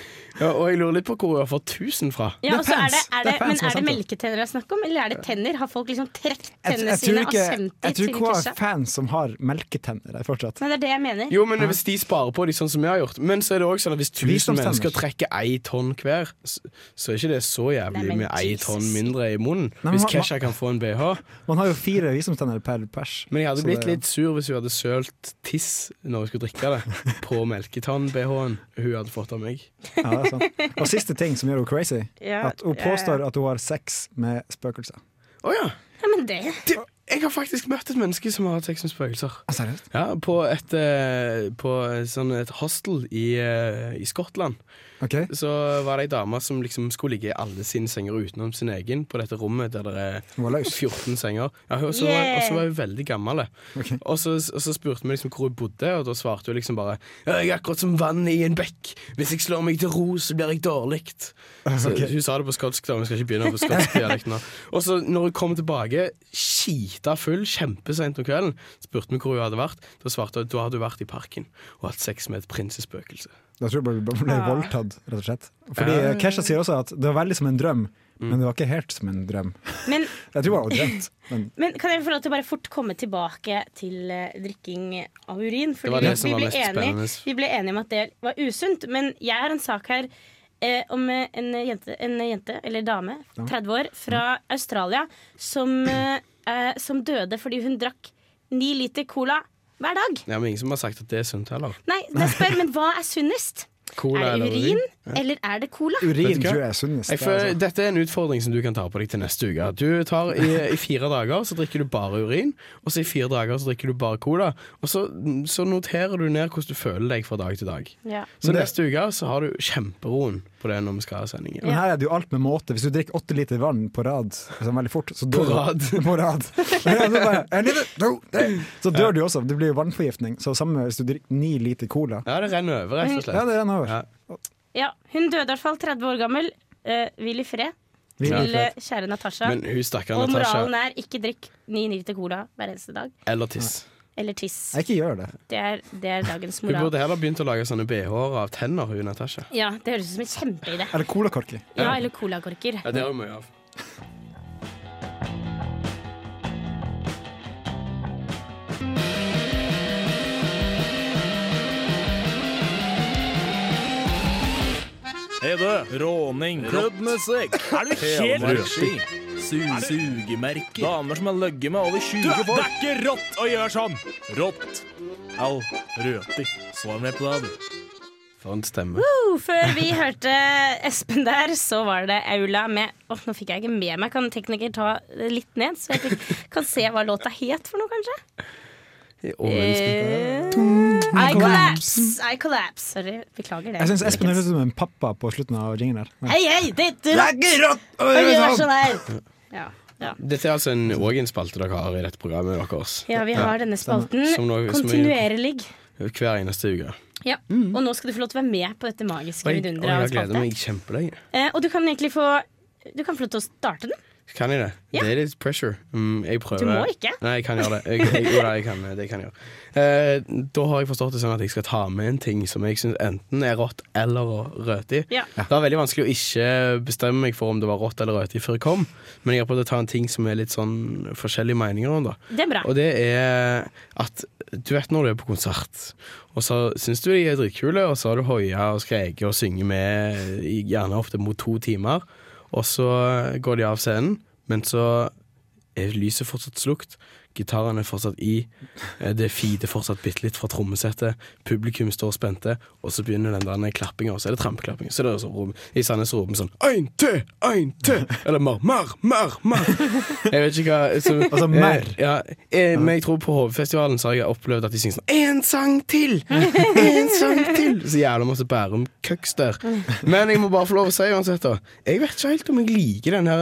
S1: Ja.
S4: Og, ja, og jeg lurer litt på hvor hun har fått 1000 fra.
S1: Ja, og så er det, er det,
S3: Det er fans,
S1: men
S3: det
S1: er
S3: er
S1: det
S3: sant, det.
S1: melketenner det er snakk om, eller er det tenner? Har folk liksom trukket
S3: jeg,
S1: tennene
S3: jeg tror
S1: sine og
S3: ikke,
S1: sendt
S3: jeg
S1: dem til
S3: tror ikke hun har
S1: Kesha?
S3: fans som har melketenner der fortsatt.
S1: Nei, det er det jeg mener.
S4: Jo, men Hvis de sparer på de sånn som jeg har gjort Men så er det også sånn at hvis 1000
S3: Visdomstenner.
S4: mennesker trekker ei tonn hver, så, så er ikke det så jævlig
S1: Nei, men
S4: med ei
S1: Jesus.
S4: tonn mindre i munnen.
S3: Nei, men
S4: hvis
S3: hva-
S4: Kesha kan få en BH.
S3: Man har jo fire visdomstenner per pers.
S4: Men jeg hadde
S3: så
S4: blitt
S3: det-
S4: litt sur hvis hun hadde sølt tiss når hun skulle drikke det, på melketann-BH-en hun hadde fått av meg.
S3: Ja, det er sant. Og siste ting som gjør henne crazy,
S1: Ja,
S3: at hun
S1: ja,
S3: påstår at hun har sex med spøkelser.
S4: Å ja!
S1: Ja, men det
S4: Det, jeg har faktisk møtt et menneske som har hatt sex med spøkelser.
S3: seriøst?
S4: Ja, på et, eh, på sånn et hostel i, eh, i Skottland
S3: Ok,
S4: så var det ei dame som liksom skulle ligge i alle sine senger utenom sin egen, på dette rommet der det er
S3: hun var løs.
S4: 14 senger. Ja, hun- og så
S1: Yeah.
S4: var, og så var hun veldig gammel. eh.
S3: Ok.
S4: Og, så, og så spurte vi liksom hvor hun bodde, og da svarte hun liksom bare «Ja, Jeg er akkurat som vann i en bekk. Hvis jeg slår meg til ro, så blir jeg dårlig. Så Hun sa det på skotsk, da, men vi skal ikke begynne på skotsk dialekt nå. Og så når hun kom tilbake, skita full, kjempeseint om kvelden, spurte vi hvor hun hadde vært. Da svarte hun da hadde hun vært i parken og hatt sex med et prinsespøkelse.
S3: Da tror jeg bare hun ble
S1: Ah.
S3: voldtatt, rett og slett. Fordi eh, Kesha sier også at det var veldig som en drøm,
S4: Mm.
S3: men det var ikke helt som en drøm.
S1: Men
S3: Jeg tror hun har drømt, men
S1: Men kan jeg få lov til å bare fort komme tilbake til eh, drikking av urin? Fordi
S4: Det var det
S1: vi-
S4: som
S1: vi
S4: var
S1: ble
S4: mest
S1: enige,
S4: spennende.
S1: Vi ble enige om at det var usunt, men jeg har en sak her eh, om eh, en jente, en jente, eller dame, 30 år, fra Australia, som, eh, eh, som døde fordi hun drakk ni liter cola hver dag.
S4: Ja, men ingen som har sagt at det er sunt heller.
S1: Nei, jeg spør, men hva er sunnest? Er
S4: Cola
S1: det
S4: eller
S1: urin, eller er det cola?
S4: Vet
S3: Urin
S4: du hva?
S3: tror jeg altså. er sunnest.
S4: Jeg føler, dette er altså- en utfordring som du kan ta på deg til neste uke. Du tar I, i fire dager så drikker du bare urin, og så i fire dager så drikker du bare cola. Og så, så noterer du ned hvordan du føler deg fra dag til dag.
S1: Ja.
S4: Så
S3: Men det-
S4: neste uke så har du kjemperoen på det når vi skal ha sending.
S3: Men her er det jo alt med måte. Hvis du drikker åtte liter vann på rad sånn veldig fort, så
S4: På
S3: dør
S4: rad.
S3: du. på rad. Ja, det er bare, "I need it, no, det." Så dør du også. Det blir jo vannforgiftning. Så samme hvis du drikker ni liter cola.
S4: Ja, det renner over, rett og
S3: Ja,
S4: slett.
S3: det er en over.
S4: Ja.
S1: Ja, hun døde i hvert fall 30 år gammel. Uh, hvil i fred
S3: Vi-
S4: Ja.
S1: til eh, kjære Natasha.
S4: Men hun stakkar
S1: Og moralen
S4: Natasha.
S1: er ikke drikk 9 liter cola hver eneste dag.
S4: Eller tiss.
S1: Eller tiss.
S3: Jeg ikke gjør det.
S1: Det er, det er dagens
S4: Hun
S1: moral.
S4: burde heller begynt å lage sånne BH-er av tenner, hun Natasha.
S1: Ja, Det høres ut som en kjempeidé.
S3: Eller colakorker.
S1: Ja, eller colakorker.
S4: Ja, det har hun mye av.
S8: Hei du,
S9: Råning,
S8: klubbmusikk,
S9: Er du helt
S8: helmarski,
S9: Sugemerker.
S8: damer som har løgget med over 20
S9: Du, det
S8: folk.
S9: er ikke rått å gjøre sånn! Rått. Au, røti. Svar meg på det, du.
S4: For en stemme.
S1: Oh, Før vi hørte Espen der, så var det Aula med Åh, Nå fikk jeg ikke med meg. Kan tekniker ta det litt ned, så jeg fikk, kan se hva låta het for noe, kanskje? Eh, I collapse. I collapse. Sorry, beklager det.
S3: Jeg syns Espen høres ut som en pappa på slutten av jingen der.
S1: Hei, hei! Det det- Oi, vær så snill. Ja, ja.
S4: Dette er altså en, også en spalte dere har i dette programmet deres.
S1: ja, vi har denne spalten
S4: Som noe- som er-
S1: kontinuerlig.
S4: Hver eneste uke.
S1: Ja. Og nå skal du få lov til å være med på dette magiske
S4: Mm. Oi, oi,
S1: vidunderet av en
S4: jeg gleder
S1: spalte.
S4: meg kjempelenge.
S1: Eh, og du kan egentlig få Du kan få lov til å starte den.
S4: Kan jeg det?
S1: Ja.
S4: Det er litt pressure. Mm, jeg prøver.
S1: Du må ikke.
S4: Nei, jeg kan gjøre det. Jeg, jeg, jo da, jeg kan, det kan jeg gjøre. Eh, da har jeg forstått det sånn at jeg skal ta med en ting som jeg syns enten er rått eller røti.
S1: Ja.
S4: Det var veldig vanskelig å ikke bestemme meg for om det var rått eller røti før jeg kom, men jeg har prøvd å ta en ting som er litt sånn forskjellige meninger om, da.
S1: Det er bra.
S4: Og det er at du vet når du er på konsert, og så syns du de er dritkule, og så har du hoia og skreket og synger med i- gjerne ofte mot to timer, og så går de av scenen, men så er lyset fortsatt slukt, gitaren er fortsatt i, eh, det feeder fortsatt bitte litt fra trommesettet, publikum står spente, og så begynner den der klappinga, og så er det trampeklapping. Så er det så rom, I Sandnes roper vi sånn Ein til! Ein til! Eller mer, mer, mer, mer! Jeg vet ikke hva så,
S3: Altså, mer.
S4: Eh, Ja, eh, men jeg tror på Hovefestivalen så har jeg opplevd at de synger sånn Én sang til! Én sang til! Så jævla masse Bærum-køks der. Men jeg må bare få lov å si uansett, da. Jeg vet ikke helt om jeg liker den her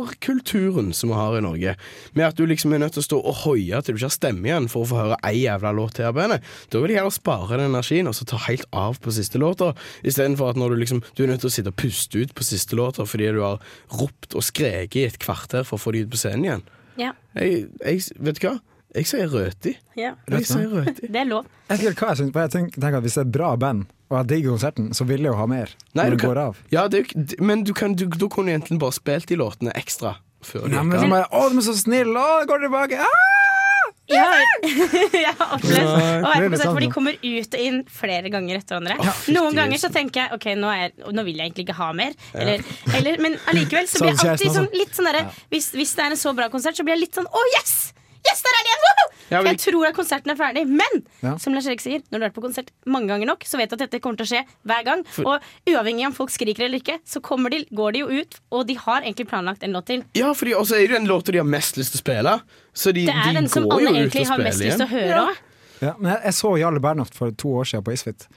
S4: encore-kulturen som vi har i Norge. Med at du liksom er nødt til å stå og hoie til du ikke har stemme igjen for å få høre ei jævla låt til av bandet. Da vil jeg heller spare den energien og så ta helt av på siste låta, istedenfor at når du liksom Du er nødt til å sitte og puste ut på siste låta fordi du har ropt og skreket i et kvarter for å få de ut på scenen igjen.
S1: Ja.
S4: Jeg, jeg, vet du hva? Jeg sier røti.
S1: ja.
S4: Jeg sier røti.
S1: Det er lov.
S3: Jeg vet ikke hva jeg syns, for jeg tenker, tenker at hvis det er et bra band, og jeg digger konserten, så vil jeg jo ha mer
S4: Nei,
S3: når
S4: du
S3: det
S4: kan-
S3: går av.
S4: Ja, det er jo ikke- men du, kan, du, da kunne du egentlig bare spilt de låtene ekstra. Før du
S3: Nei,
S4: gikk
S3: men
S4: av.
S3: så bare, Å, de er så snille! Å, går tilbake! Ah!
S1: Jeg har, jeg har opplevd å være
S3: det er
S1: på konsert hvor de
S3: sant,
S1: kommer ut og inn flere ganger etter hverandre.
S4: fy
S1: Noen
S4: til
S1: ganger
S4: Jesus.
S1: så tenker jeg ok, nå, er, jeg- nå vil jeg egentlig ikke ha mer. Eller, eller, men allikevel så blir jeg
S3: Sånn
S1: alltid
S3: kjæresten,
S1: sånn, litt sånn derre hvis, hvis det er en så bra konsert, så blir jeg litt sånn å yes! Yes, der er det igjen! Woho!
S4: Ja,
S1: For
S4: men-
S1: jeg tror at konserten er ferdig. Men
S3: Ja.
S1: som Lars Erik sier, når du har vært på konsert mange ganger nok, så vet du at dette kommer til å skje hver gang. Og uavhengig om folk skriker eller ikke, så kommer de, går de jo ut, og de har egentlig planlagt en låt til.
S4: Ja, fordi også er det den låta de har mest lyst til å spille. Så de,
S1: Det er
S4: de
S1: den som
S4: går
S1: alle
S4: jo ut
S1: egentlig
S4: og
S1: har mest
S4: spiller
S1: lyst til å
S4: igjen.
S1: høre òg.
S3: Ja, men jeg, jeg så Jarle Bernhoft for to år siden på Isfit,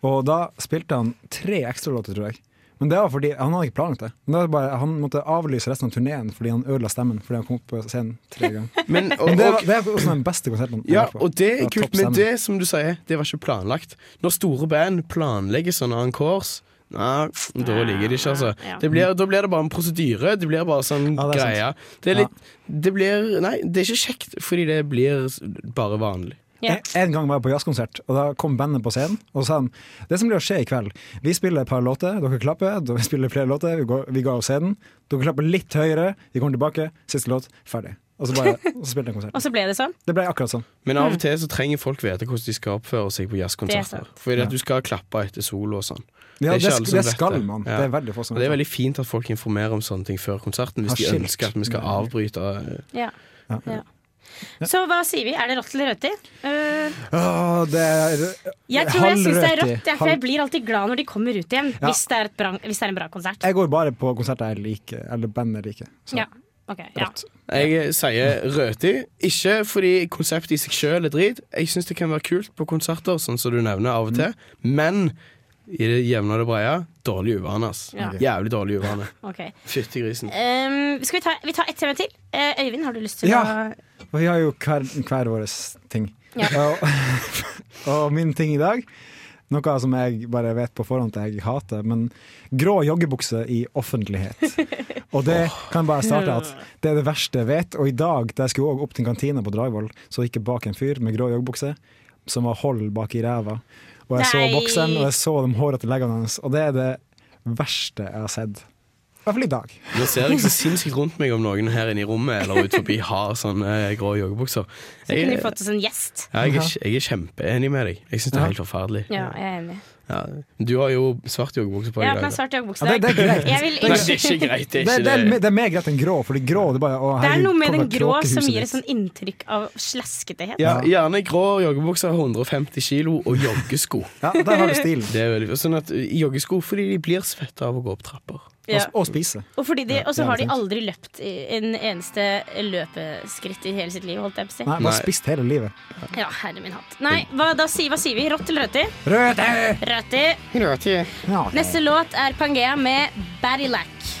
S3: og da spilte han tre ekstralåter, tror jeg. Men det var fordi Han hadde ikke planlagt det. Men det var bare, han måtte avlyse resten av turneen fordi han ødela stemmen fordi han kom opp på scenen tre ganger.
S4: Men, og,
S3: Men det,
S4: og,
S3: var, det er også den beste konserten. jeg
S4: ja,
S3: har vært på.
S4: og det er
S3: var
S4: kult,
S3: topp
S4: men
S3: stemme.
S4: det som du sier, det var ikke planlagt. Når store band planlegger sånne encores Nei, da ligger de ikke, altså.
S1: Ja.
S4: Det blir, da blir det bare en prosedyre. Det blir bare sånn
S3: Ja, det er sant.
S4: greie. Det er
S3: Ja.
S4: litt Det blir Nei, det er ikke kjekt, fordi det blir s- bare vanlig.
S1: Ja.
S3: En- En gang var jeg på jazzkonsert, og da kom bandet på scenen og sa han, det som blir å skje i kveld. Vi spiller et par låter, dere klapper, da vi spiller flere låter, vi går, vi går av scenen. Dere klapper litt høyere, vi kommer tilbake, siste låt, ferdig. Og så, bare, og så spilte jeg konsert.
S1: Og så ble det sånn.
S3: Det ble akkurat sånn.
S4: Men av og til så trenger folk vite hvordan de skal oppføre
S1: Mm.
S4: seg på
S1: Det er
S4: jazzkonserter.
S1: sant.
S4: Fordi at du skal klappe etter solo og sånn. Det
S3: Ja, det,
S4: er ikke alle
S3: sk-
S4: som
S3: det
S4: vet
S3: skal
S4: det.
S3: man.
S4: Ja.
S3: Det er veldig få som
S4: Og det er
S3: vet det.
S4: veldig fint at folk informerer om sånne ting før konserten, hvis
S3: Har
S4: de eh,
S3: skilt.
S4: ønsker at vi skal avbryte.
S1: Ja.
S3: Ja.
S1: Ja. Så hva sier vi? Er det rått eller røti? Eh,
S3: Åh, det er
S1: jeg tror jeg syns det er
S3: halvrødt i-
S1: rått, jeg, for
S3: halv-
S1: jeg blir alltid glad når de kommer ut igjen.
S3: Ja.
S1: Hvis, det er et bra, hvis det er en bra konsert.
S3: Jeg går bare på konserter jeg liker, eller band jeg liker. Så
S1: Ja. ok, ja.
S3: rått.
S4: Jeg sier røti, ikke fordi konseptet i seg selv er drit. Jeg syns det kan være kult på konserter, sånn som du nevner av og til, men i det jevne og det brede dårlig uvane, ass.
S1: Ja.
S4: Jævlig dårlig uvane.
S1: ok.
S4: Fytti grisen.
S1: Ehm, skal vi ta, vi tar ett tema til? Eh, Øyvind, har du lyst til
S3: Ja.
S1: å
S3: Og vi har jo hver, hver vår ting.
S1: Ja.
S3: Og, og min ting i dag, noe som jeg bare vet på forhånd at jeg hater, men grå joggebukse i offentlighet. Og det kan bare starte at det er det verste jeg vet. Og i dag, da jeg skulle også opp til en kantine på Dragvoll, så gikk jeg bak en fyr med grå joggebukse som var hold bak i ræva. Og jeg så
S1: Nei.
S3: bokseren, og jeg så de hårete leggene hans, og det er det verste jeg har sett. I hvert fall i dag.
S4: Nå ser jeg så sinnssykt rundt meg om noen her inne i rommet eller ut forbi har sånne eh, grå joggebukser. Jeg,
S1: Kunne vi
S4: ja,
S1: fått oss en gjest?
S4: jeg, er, jeg er kjempeenig med deg. Jeg syns det er helt forferdelig.
S1: Ja, jeg er enig.
S4: Ja. Du har jo svart joggebukse på
S1: Jeg
S4: i
S1: har på meg
S4: dag. da.
S1: svart joggebukse.
S3: Ja, det- det er greit.
S1: Jeg vil
S4: Nei,
S1: ikke-
S4: det er ikke greit. Det
S3: Det,
S4: er
S3: det, er,
S4: ikke
S3: me-
S4: det.
S3: det er mer greit enn grå, fordi grå det er bare å,
S1: Det er
S3: herregud,
S1: noe med
S3: kom
S1: den
S3: fra
S1: grå som
S3: kråkehuset
S1: gir et
S3: ditt.
S1: sånn inntrykk av slasketehet.
S4: Ja, gjerne grå joggebukser, 150 kilo og joggesko.
S3: Ja, der har du stilen.
S4: Det er veldig, sånn at Joggesko fordi de blir svette av å gå opp trapper.
S1: Ja.
S3: Og, og spise.
S1: Og fordi de, og så
S3: altså, Ja,
S1: har de
S3: sant.
S1: aldri løpt i en eneste løpeskritt i hele sitt liv, holdt jeg på å si.
S3: Nei,
S4: Nei.
S3: bare spist hele livet.
S1: Ja, herre min hatt. Nei, hva, da, sier- hva sier vi? Rått eller røti?
S3: Rødt!
S1: Røti.
S3: Ja.
S1: Neste låt er Pangea med Baddilac.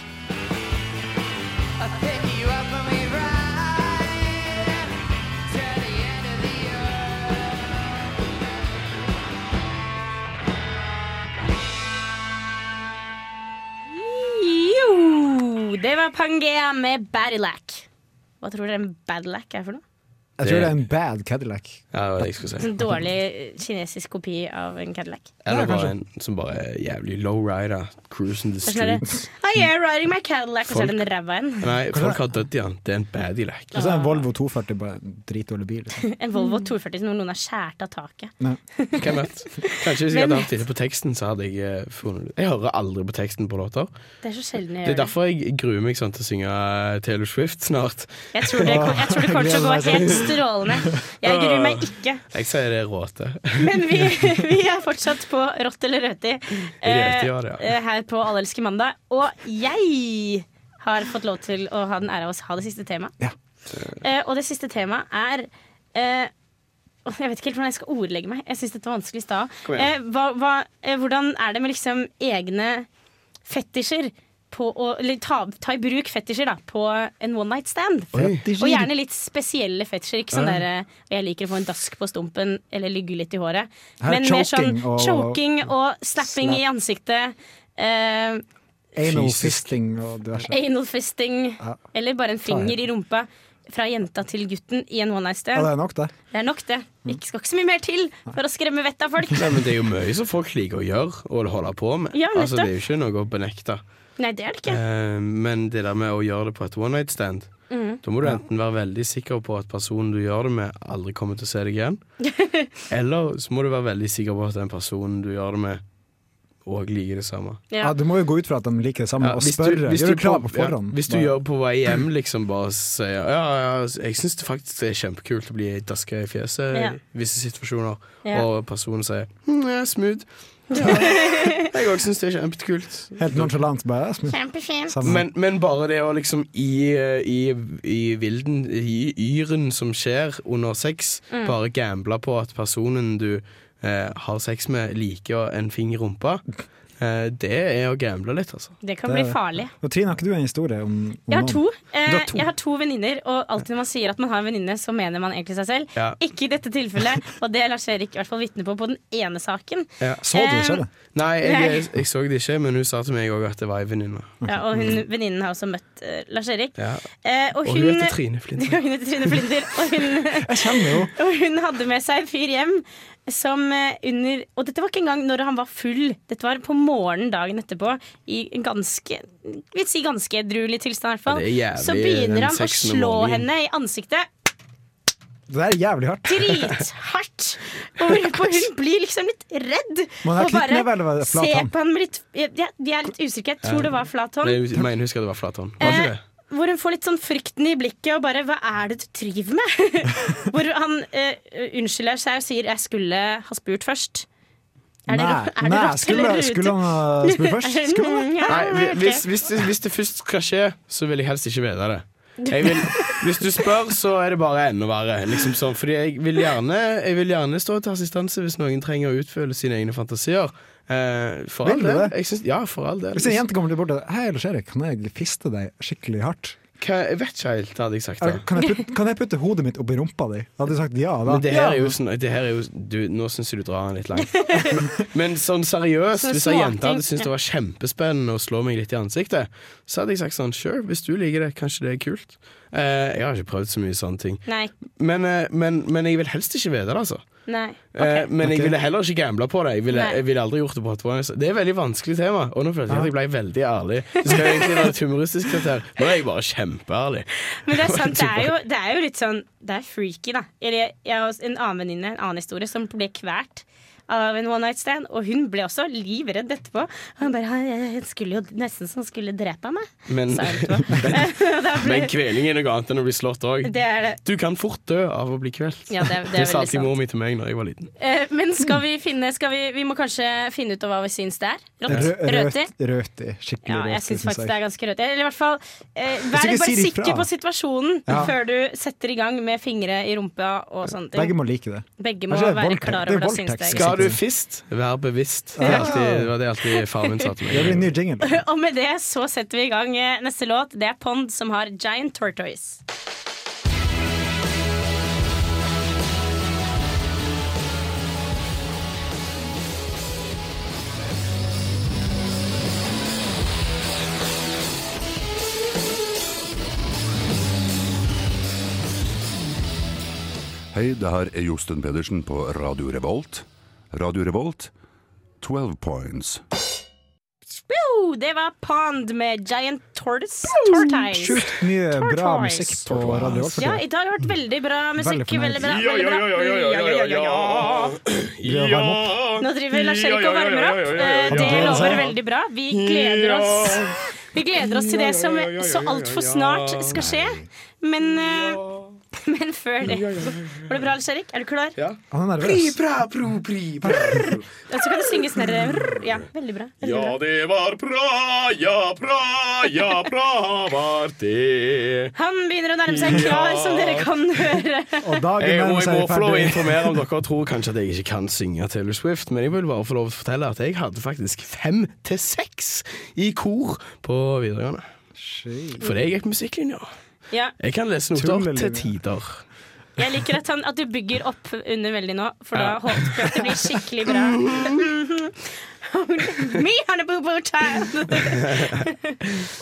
S1: Jo, det var Pangea med Baddilac. Hva tror dere en Baddilac er for noe?
S3: Jeg tror det er en bad Cadillac.
S4: Ja, det var det jeg skulle si.
S1: En dårlig eh, kinesisk kopi av en Cadillac.
S4: Eller
S3: Ja,
S4: bare en som bare er jævlig lowrider. Cruising the
S1: Det er sånn der,
S4: streets.
S1: oh yeah, riding my Cadillac, og så er det en ræva en.
S4: Nei, folk har dødd i den. Det er en badilac.
S3: Og så er en Volvo 240 bare en dritdårlig bil. Liksom.
S1: En Volvo 240 som noen har skåret av taket.
S4: Hvem vet? Kanskje hvis jeg hadde hatt inne på teksten, så hadde jeg eh, funnet Jeg hører aldri på teksten på låter.
S1: Det er så sjelden jeg
S4: Det
S1: gjør
S4: er
S1: det.
S4: derfor jeg gruer meg sånn til å synge Taylor Swift snart.
S1: Jeg tror det, kom- jeg tror det kommer til å gå helt strålende. Jeg gruer meg ikke.
S4: Jeg sier det er råte.
S1: Men vi, vi er fortsatt på Rått eller røti
S4: Røti, ja, det er.
S1: eh, her på Allelske mandag. Og jeg har fått lov til å ha den ære av å ha det siste temaet.
S3: Ja.
S1: Eh, og det siste temaet er eh, åh, Jeg vet ikke helt hvordan jeg skal ordlegge meg. Jeg syns dette var vanskelig i stad.
S4: Kom igjen.
S1: Eh, hva- hva- eh, hvordan er det med liksom egne fetisjer? På å, eller ta, ta i bruk fetisjer da, på en one night stand. Og gjerne litt spesielle fetisjer. Ikke sånn der eh, jeg liker å få en dask på stumpen eller lygge litt i håret.
S3: Her er
S1: Men mer sånn
S3: choking og-
S1: choking og slapping i ansiktet. eh,
S3: Anal
S4: Fysisk.
S3: fisting og diverse.
S1: anal fisting.
S3: Ja.
S1: Eller bare en finger i rumpa. Fra jenta til gutten i en one night
S3: Ja, det
S1: stand.
S3: er nok, det.
S1: Det er nok, det. Vi skal ikke så mye mer til for å skremme vettet av folk.
S4: Nei, men det er jo mye som folk liker å gjøre og holde på med.
S1: Ja,
S4: altså,
S1: nettopp.
S4: det er jo ikke noe å benekte.
S1: Nei, det er det ikke.
S4: Eh, men det der med å gjøre det på et one night stand
S1: Mm.
S4: Da må du enten være veldig sikker på at personen du gjør det med, aldri kommer til å se deg igjen. eller så må du være veldig sikker på at den personen du gjør det med, òg liker det samme.
S3: Ja,
S1: Ja.
S3: du må jo gå ut fra at de liker det samme,
S4: Ja,
S3: og
S4: hvis du-
S3: spørre.
S4: hvis
S3: Gjør
S4: du
S3: det klart
S4: på-
S3: på forhånd.
S4: Ja, hvis du
S3: Bare-
S4: gjør på vei hjem, liksom bare sier ja, ja, jeg syns det faktisk er kjempekult å bli daska i fjeset
S1: Ja.
S4: i visse situasjoner,
S1: Ja.
S4: og personen sier hm, ja, smooth. Ja, jeg òg syns det er kjempekult.
S3: Helt nonchalant, bare. ja, smitt.
S1: Kjempefint.
S3: Samme.
S4: Men, men bare det å liksom i, i, i vilden, i yren som skjer under sex, bare gamble på at personen du eh, har sex med, liker en finger i rumpa, eh, det er å gamble litt, altså.
S1: Det kan
S3: Det
S1: bli
S3: er det.
S1: farlig.
S3: Og Trine, har ikke du en historie om, om
S1: Jeg har
S3: noen?
S1: to. Eh,
S4: Du har to.
S1: Jeg har to venninner, og alltid når man sier at man har en venninne, så mener man egentlig seg selv.
S4: Ja.
S1: Ikke i dette tilfellet, og det er Lars Erik i hvert fall vitne på på den ene saken.
S3: Så du
S1: Eh,
S3: skjedde?
S4: Nei, jeg,
S1: Nei.
S4: jeg så det ikke, men hun sa til meg òg at det var ei venninne.
S1: Ja, og hun, venninnen har også møtt eh, Lars Erik.
S4: Mm. Ja.
S1: Eh, og,
S4: Og
S1: hun,
S4: hun heter Trine Flint.
S1: Ja, hun heter Trine Flinder, og hun,
S3: Jeg kjenner jo
S1: og hun hadde med seg en fyr hjem som eh, under Og dette var ikke engang når han var full, dette var på morgenen dagen etterpå. I en ganske vi si ganske edruelig tilstand, i hvert fall.
S4: Ja, det er jævlig,
S1: Så begynner
S4: den
S1: han å
S4: sexen om
S1: slå
S4: morgenen.
S1: henne i ansiktet.
S3: Det der er jævlig hardt.
S1: drithardt. Og hvorpå hun blir liksom litt redd.
S3: Man har
S1: og
S3: knyttneve, eller var det flat
S1: se
S3: hånd?
S1: på han med litt jeg- jeg- Vi er litt usikre. Jeg tror det var flat hånd.
S4: Jeg mener, husker jeg det var flat hånd. Var
S1: Eh,
S4: ikke det?
S1: hvor hun får litt sånn frykten i blikket og bare 'hva er det du driver med?' hvor han eh, unnskylder seg og sier 'jeg skulle ha spurt først'. Er det,
S3: Nei,
S1: ro- er det
S3: nei,
S1: rått
S3: skulle-
S1: eller
S3: skulle
S1: rute?
S3: han ha spurt først? Skulle han det?
S1: Ja,
S4: Nei,
S1: ok.
S4: hvi- hvis, hvis, det, hvis det først skal skje, så vil jeg helst ikke vite det. Jeg vil, hvis du spør, så er det bare enda verre. Liksom sånn, fordi jeg vil, gjerne, jeg vil gjerne stå til assistanse hvis noen trenger å utfylle sine egne fantasier. Eh, for all
S3: Vil du
S4: del.
S3: det?
S4: Jeg syns- ja, for all del.
S3: Hvis en jente kommer til bort og sier Hei, Lars Erik, kan jeg fiste deg skikkelig hardt?
S4: Hva, jeg vet ikke helt hva hadde jeg sagt da.
S3: Er- Kan jeg putte, kan jeg putte hodet mitt oppi rumpa di? Hadde du sagt ja da?
S4: Men det her er jo
S3: Ja.
S4: sånn det her er jo, du, Nå syns jeg du drar den litt langt. Men sånn seriøst,
S1: Sånn
S4: hvis ei jente
S1: småting.
S4: hadde syntes det var kjempespennende å slå meg litt i ansiktet, så hadde jeg sagt sånn Sure, hvis du liker det, kanskje det er kult. Eh, jeg har ikke prøvd så mye sånne ting.
S1: Nei.
S4: Men, eh, men, men jeg vil helst ikke vite det, altså.
S1: nei.
S4: Eh,
S1: ok.
S4: men jeg ville heller ikke gambla på det. Jeg ville,
S1: Nei.
S4: jeg ville aldri gjort Det på Hotwire. Det er et veldig vanskelig tema, og nå følte jeg at jeg ble veldig ærlig. Det skal jo egentlig være et humoristisk kvarter. Nå er jeg bare kjempeærlig.
S1: Men det er sant, det er jo, det er jo litt sånn Det er freaky, da. Eller jeg har også en annen venninne, en annen historie, som ble kvært av en one night stand. Og hun ble også livredd etterpå. Og hun bare «Han- jeg- jeg skulle jo nesten som skulle drepe meg.
S4: Men,
S1: Sa hun etterpå. Da
S4: men
S1: ble,
S4: kveling er noe annet enn å bli slått òg.
S1: det er det.
S4: Du kan fort dø av å bli kvelt.
S1: Ja, det er, det
S4: Det
S1: er
S4: sa
S1: veldig
S4: alltid
S1: sant.
S4: mor mi til meg når jeg var liten.
S1: Eh, Men skal vi finne skal vi, vi må kanskje finne ut av hva vi syns det er. Rått?
S3: Rø-
S1: Røti?
S3: rødt- Røti. Skikkelig
S1: Ja, jeg
S3: røti,
S1: syns
S3: synes
S1: faktisk det er ganske rødt. Eller i hvert fall eh,
S3: Hvis
S1: Vær
S3: ikke
S1: bare
S3: sier ifra.
S1: sikker på situasjonen
S3: Ja.
S1: før du setter i gang med fingre i rumpa og sånne ting.
S3: Begge må like det.
S1: Begge må
S3: Kanskje det er
S1: være
S3: voldtekt.
S1: klar
S3: Det er
S1: over det, syns
S3: voldtekt.
S1: jeg.
S4: Skal du fist, vær bevisst. Det, er alltid, det var det alltid faren min sa til
S3: Det blir en
S4: meg.
S3: ny jingle.
S1: Og med det så setter vi i gang eh, neste låt. Det er Pond som har Giant Tortoise.
S10: Hei, det her er Josten Pedersen på Radio Revolt. Radio Revolt, 12 points.
S1: Wow, det var Pond med Giant Tortoise. Tortoise.
S3: Sjukt mye eh, bra
S1: Tortoise.
S3: musikk på Radio Revolt. for
S1: Ja,
S3: tiden.
S1: i dag har det vært veldig bra musikk.
S3: Veldig
S1: Veldig
S3: fornøyd.
S1: bra, veldig bra.
S3: Greier å varme opp.
S1: Nå driver Lars Erik og varmer opp. Eh, Det
S3: ja.
S1: lover veldig bra. Vi gleder oss. Vi gleder oss til det som så altfor snart skal skje. Men, eh, men før det Var det bra, Lars Erik? Er du klar?
S4: Ja.
S3: Han er nervøs.
S1: Og så kan det synges ned Ja, veldig bra. Veldig bra.
S9: Ja, det var Praja, Praja, Praha var det.
S1: Han begynner å nærme seg klar, som dere kan høre.
S3: Og dagen
S4: Jeg, og jeg
S3: nærmer
S4: må
S3: seg
S4: få lov å
S3: ferdig.
S4: informere om dere tror kanskje at jeg ikke kan synge Taylor Swift, men jeg vil bare få lov å fortelle at jeg hadde faktisk fem til seks i kor på videregående.
S3: Shit.
S4: Fordi jeg gikk musikklinja.
S1: Ja,
S4: Jeg kan lese noter
S3: Tullelinja.
S4: til tider.
S1: jeg liker at, han, at du bygger opp under veldig nå, for da håper jeg at det blir skikkelig bra. Me on a boo-boo child.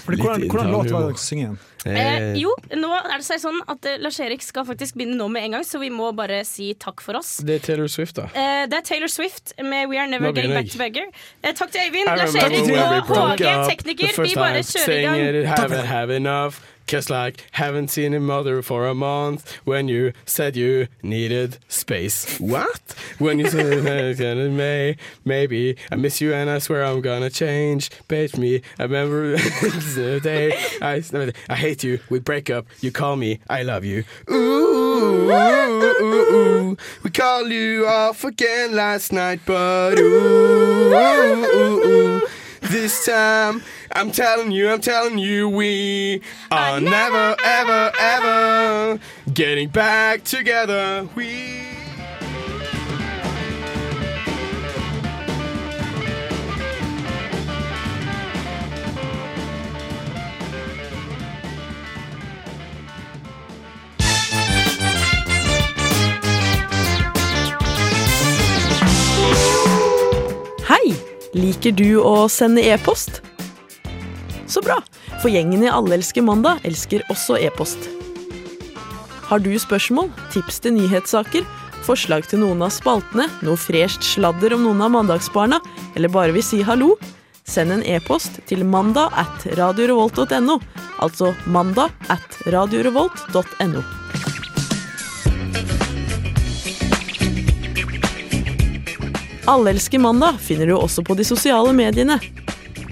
S3: Fordi Hvordan,
S4: Litt
S3: hvordan
S4: intern
S3: låt var
S4: humor.
S3: det dere skulle synge igjen?
S1: Eh, jo, nå er det seg sånn at eh, Lars-Erik skal faktisk begynne nå med en gang, så vi må bare si takk for oss.
S4: Det er Taylor Swift, da.
S1: Eh, det er Taylor Swift med We Are Never
S4: Nå
S1: Getting
S4: begynner
S1: Back
S4: jeg.
S1: Together. Eh, takk til Øyvind,
S4: I
S1: Lars-Erik
S4: remember when we
S1: og
S4: broke
S1: Håge,
S4: up the
S1: tekniker.
S4: first
S1: Vi bare
S4: time,
S1: kjører i
S4: saying
S1: gang.
S4: it, haven't have enough, Cause like haven't seen a mother for a month When you said you needed space What? When you said I was gonna may, maybe I miss you and I swear I'm gonna change Page me, I remember the day I, I hate you, we break up You call me, I love you Ooh, ooh, ooh, ooh. We call you off again last night But ooh, ooh, ooh, ooh. This time, I'm telling you, I'm telling you, we are never, ever, ever getting back together. We
S11: Hei! Liker du å sende e-post? Så bra, for gjengen i Alle elsker mandag elsker også e-post. Har du spørsmål, tips til nyhetssaker, forslag til noen av spaltene, noe fresht sladder om noen av mandagsbarna, eller bare vil si hallo? Send en e-post til mandag at radiorevolt.no, altså mandag at radiorevolt.no. Allelsker mandag finner du også på de sosiale mediene.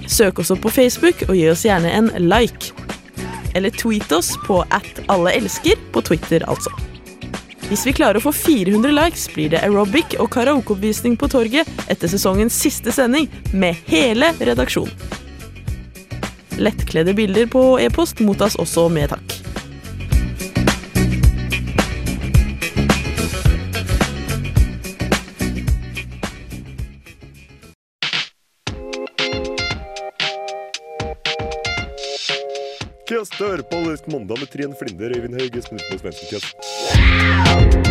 S11: Søk oss opp på Facebook og gi oss gjerne en like.
S9: eller tweet oss på at alleelsker på Twitter, altså. Hvis vi klarer å få 400 likes, blir det aerobic og karaokeoppvisning på torget etter sesongens siste sending med hele redaksjonen. Lettkledde bilder på e-post mottas også med takk.
S12: Kast hører på Allersk mandag med Trine Flinder, Øyvind Hauge, Smidt og Svendsen Kjøtt.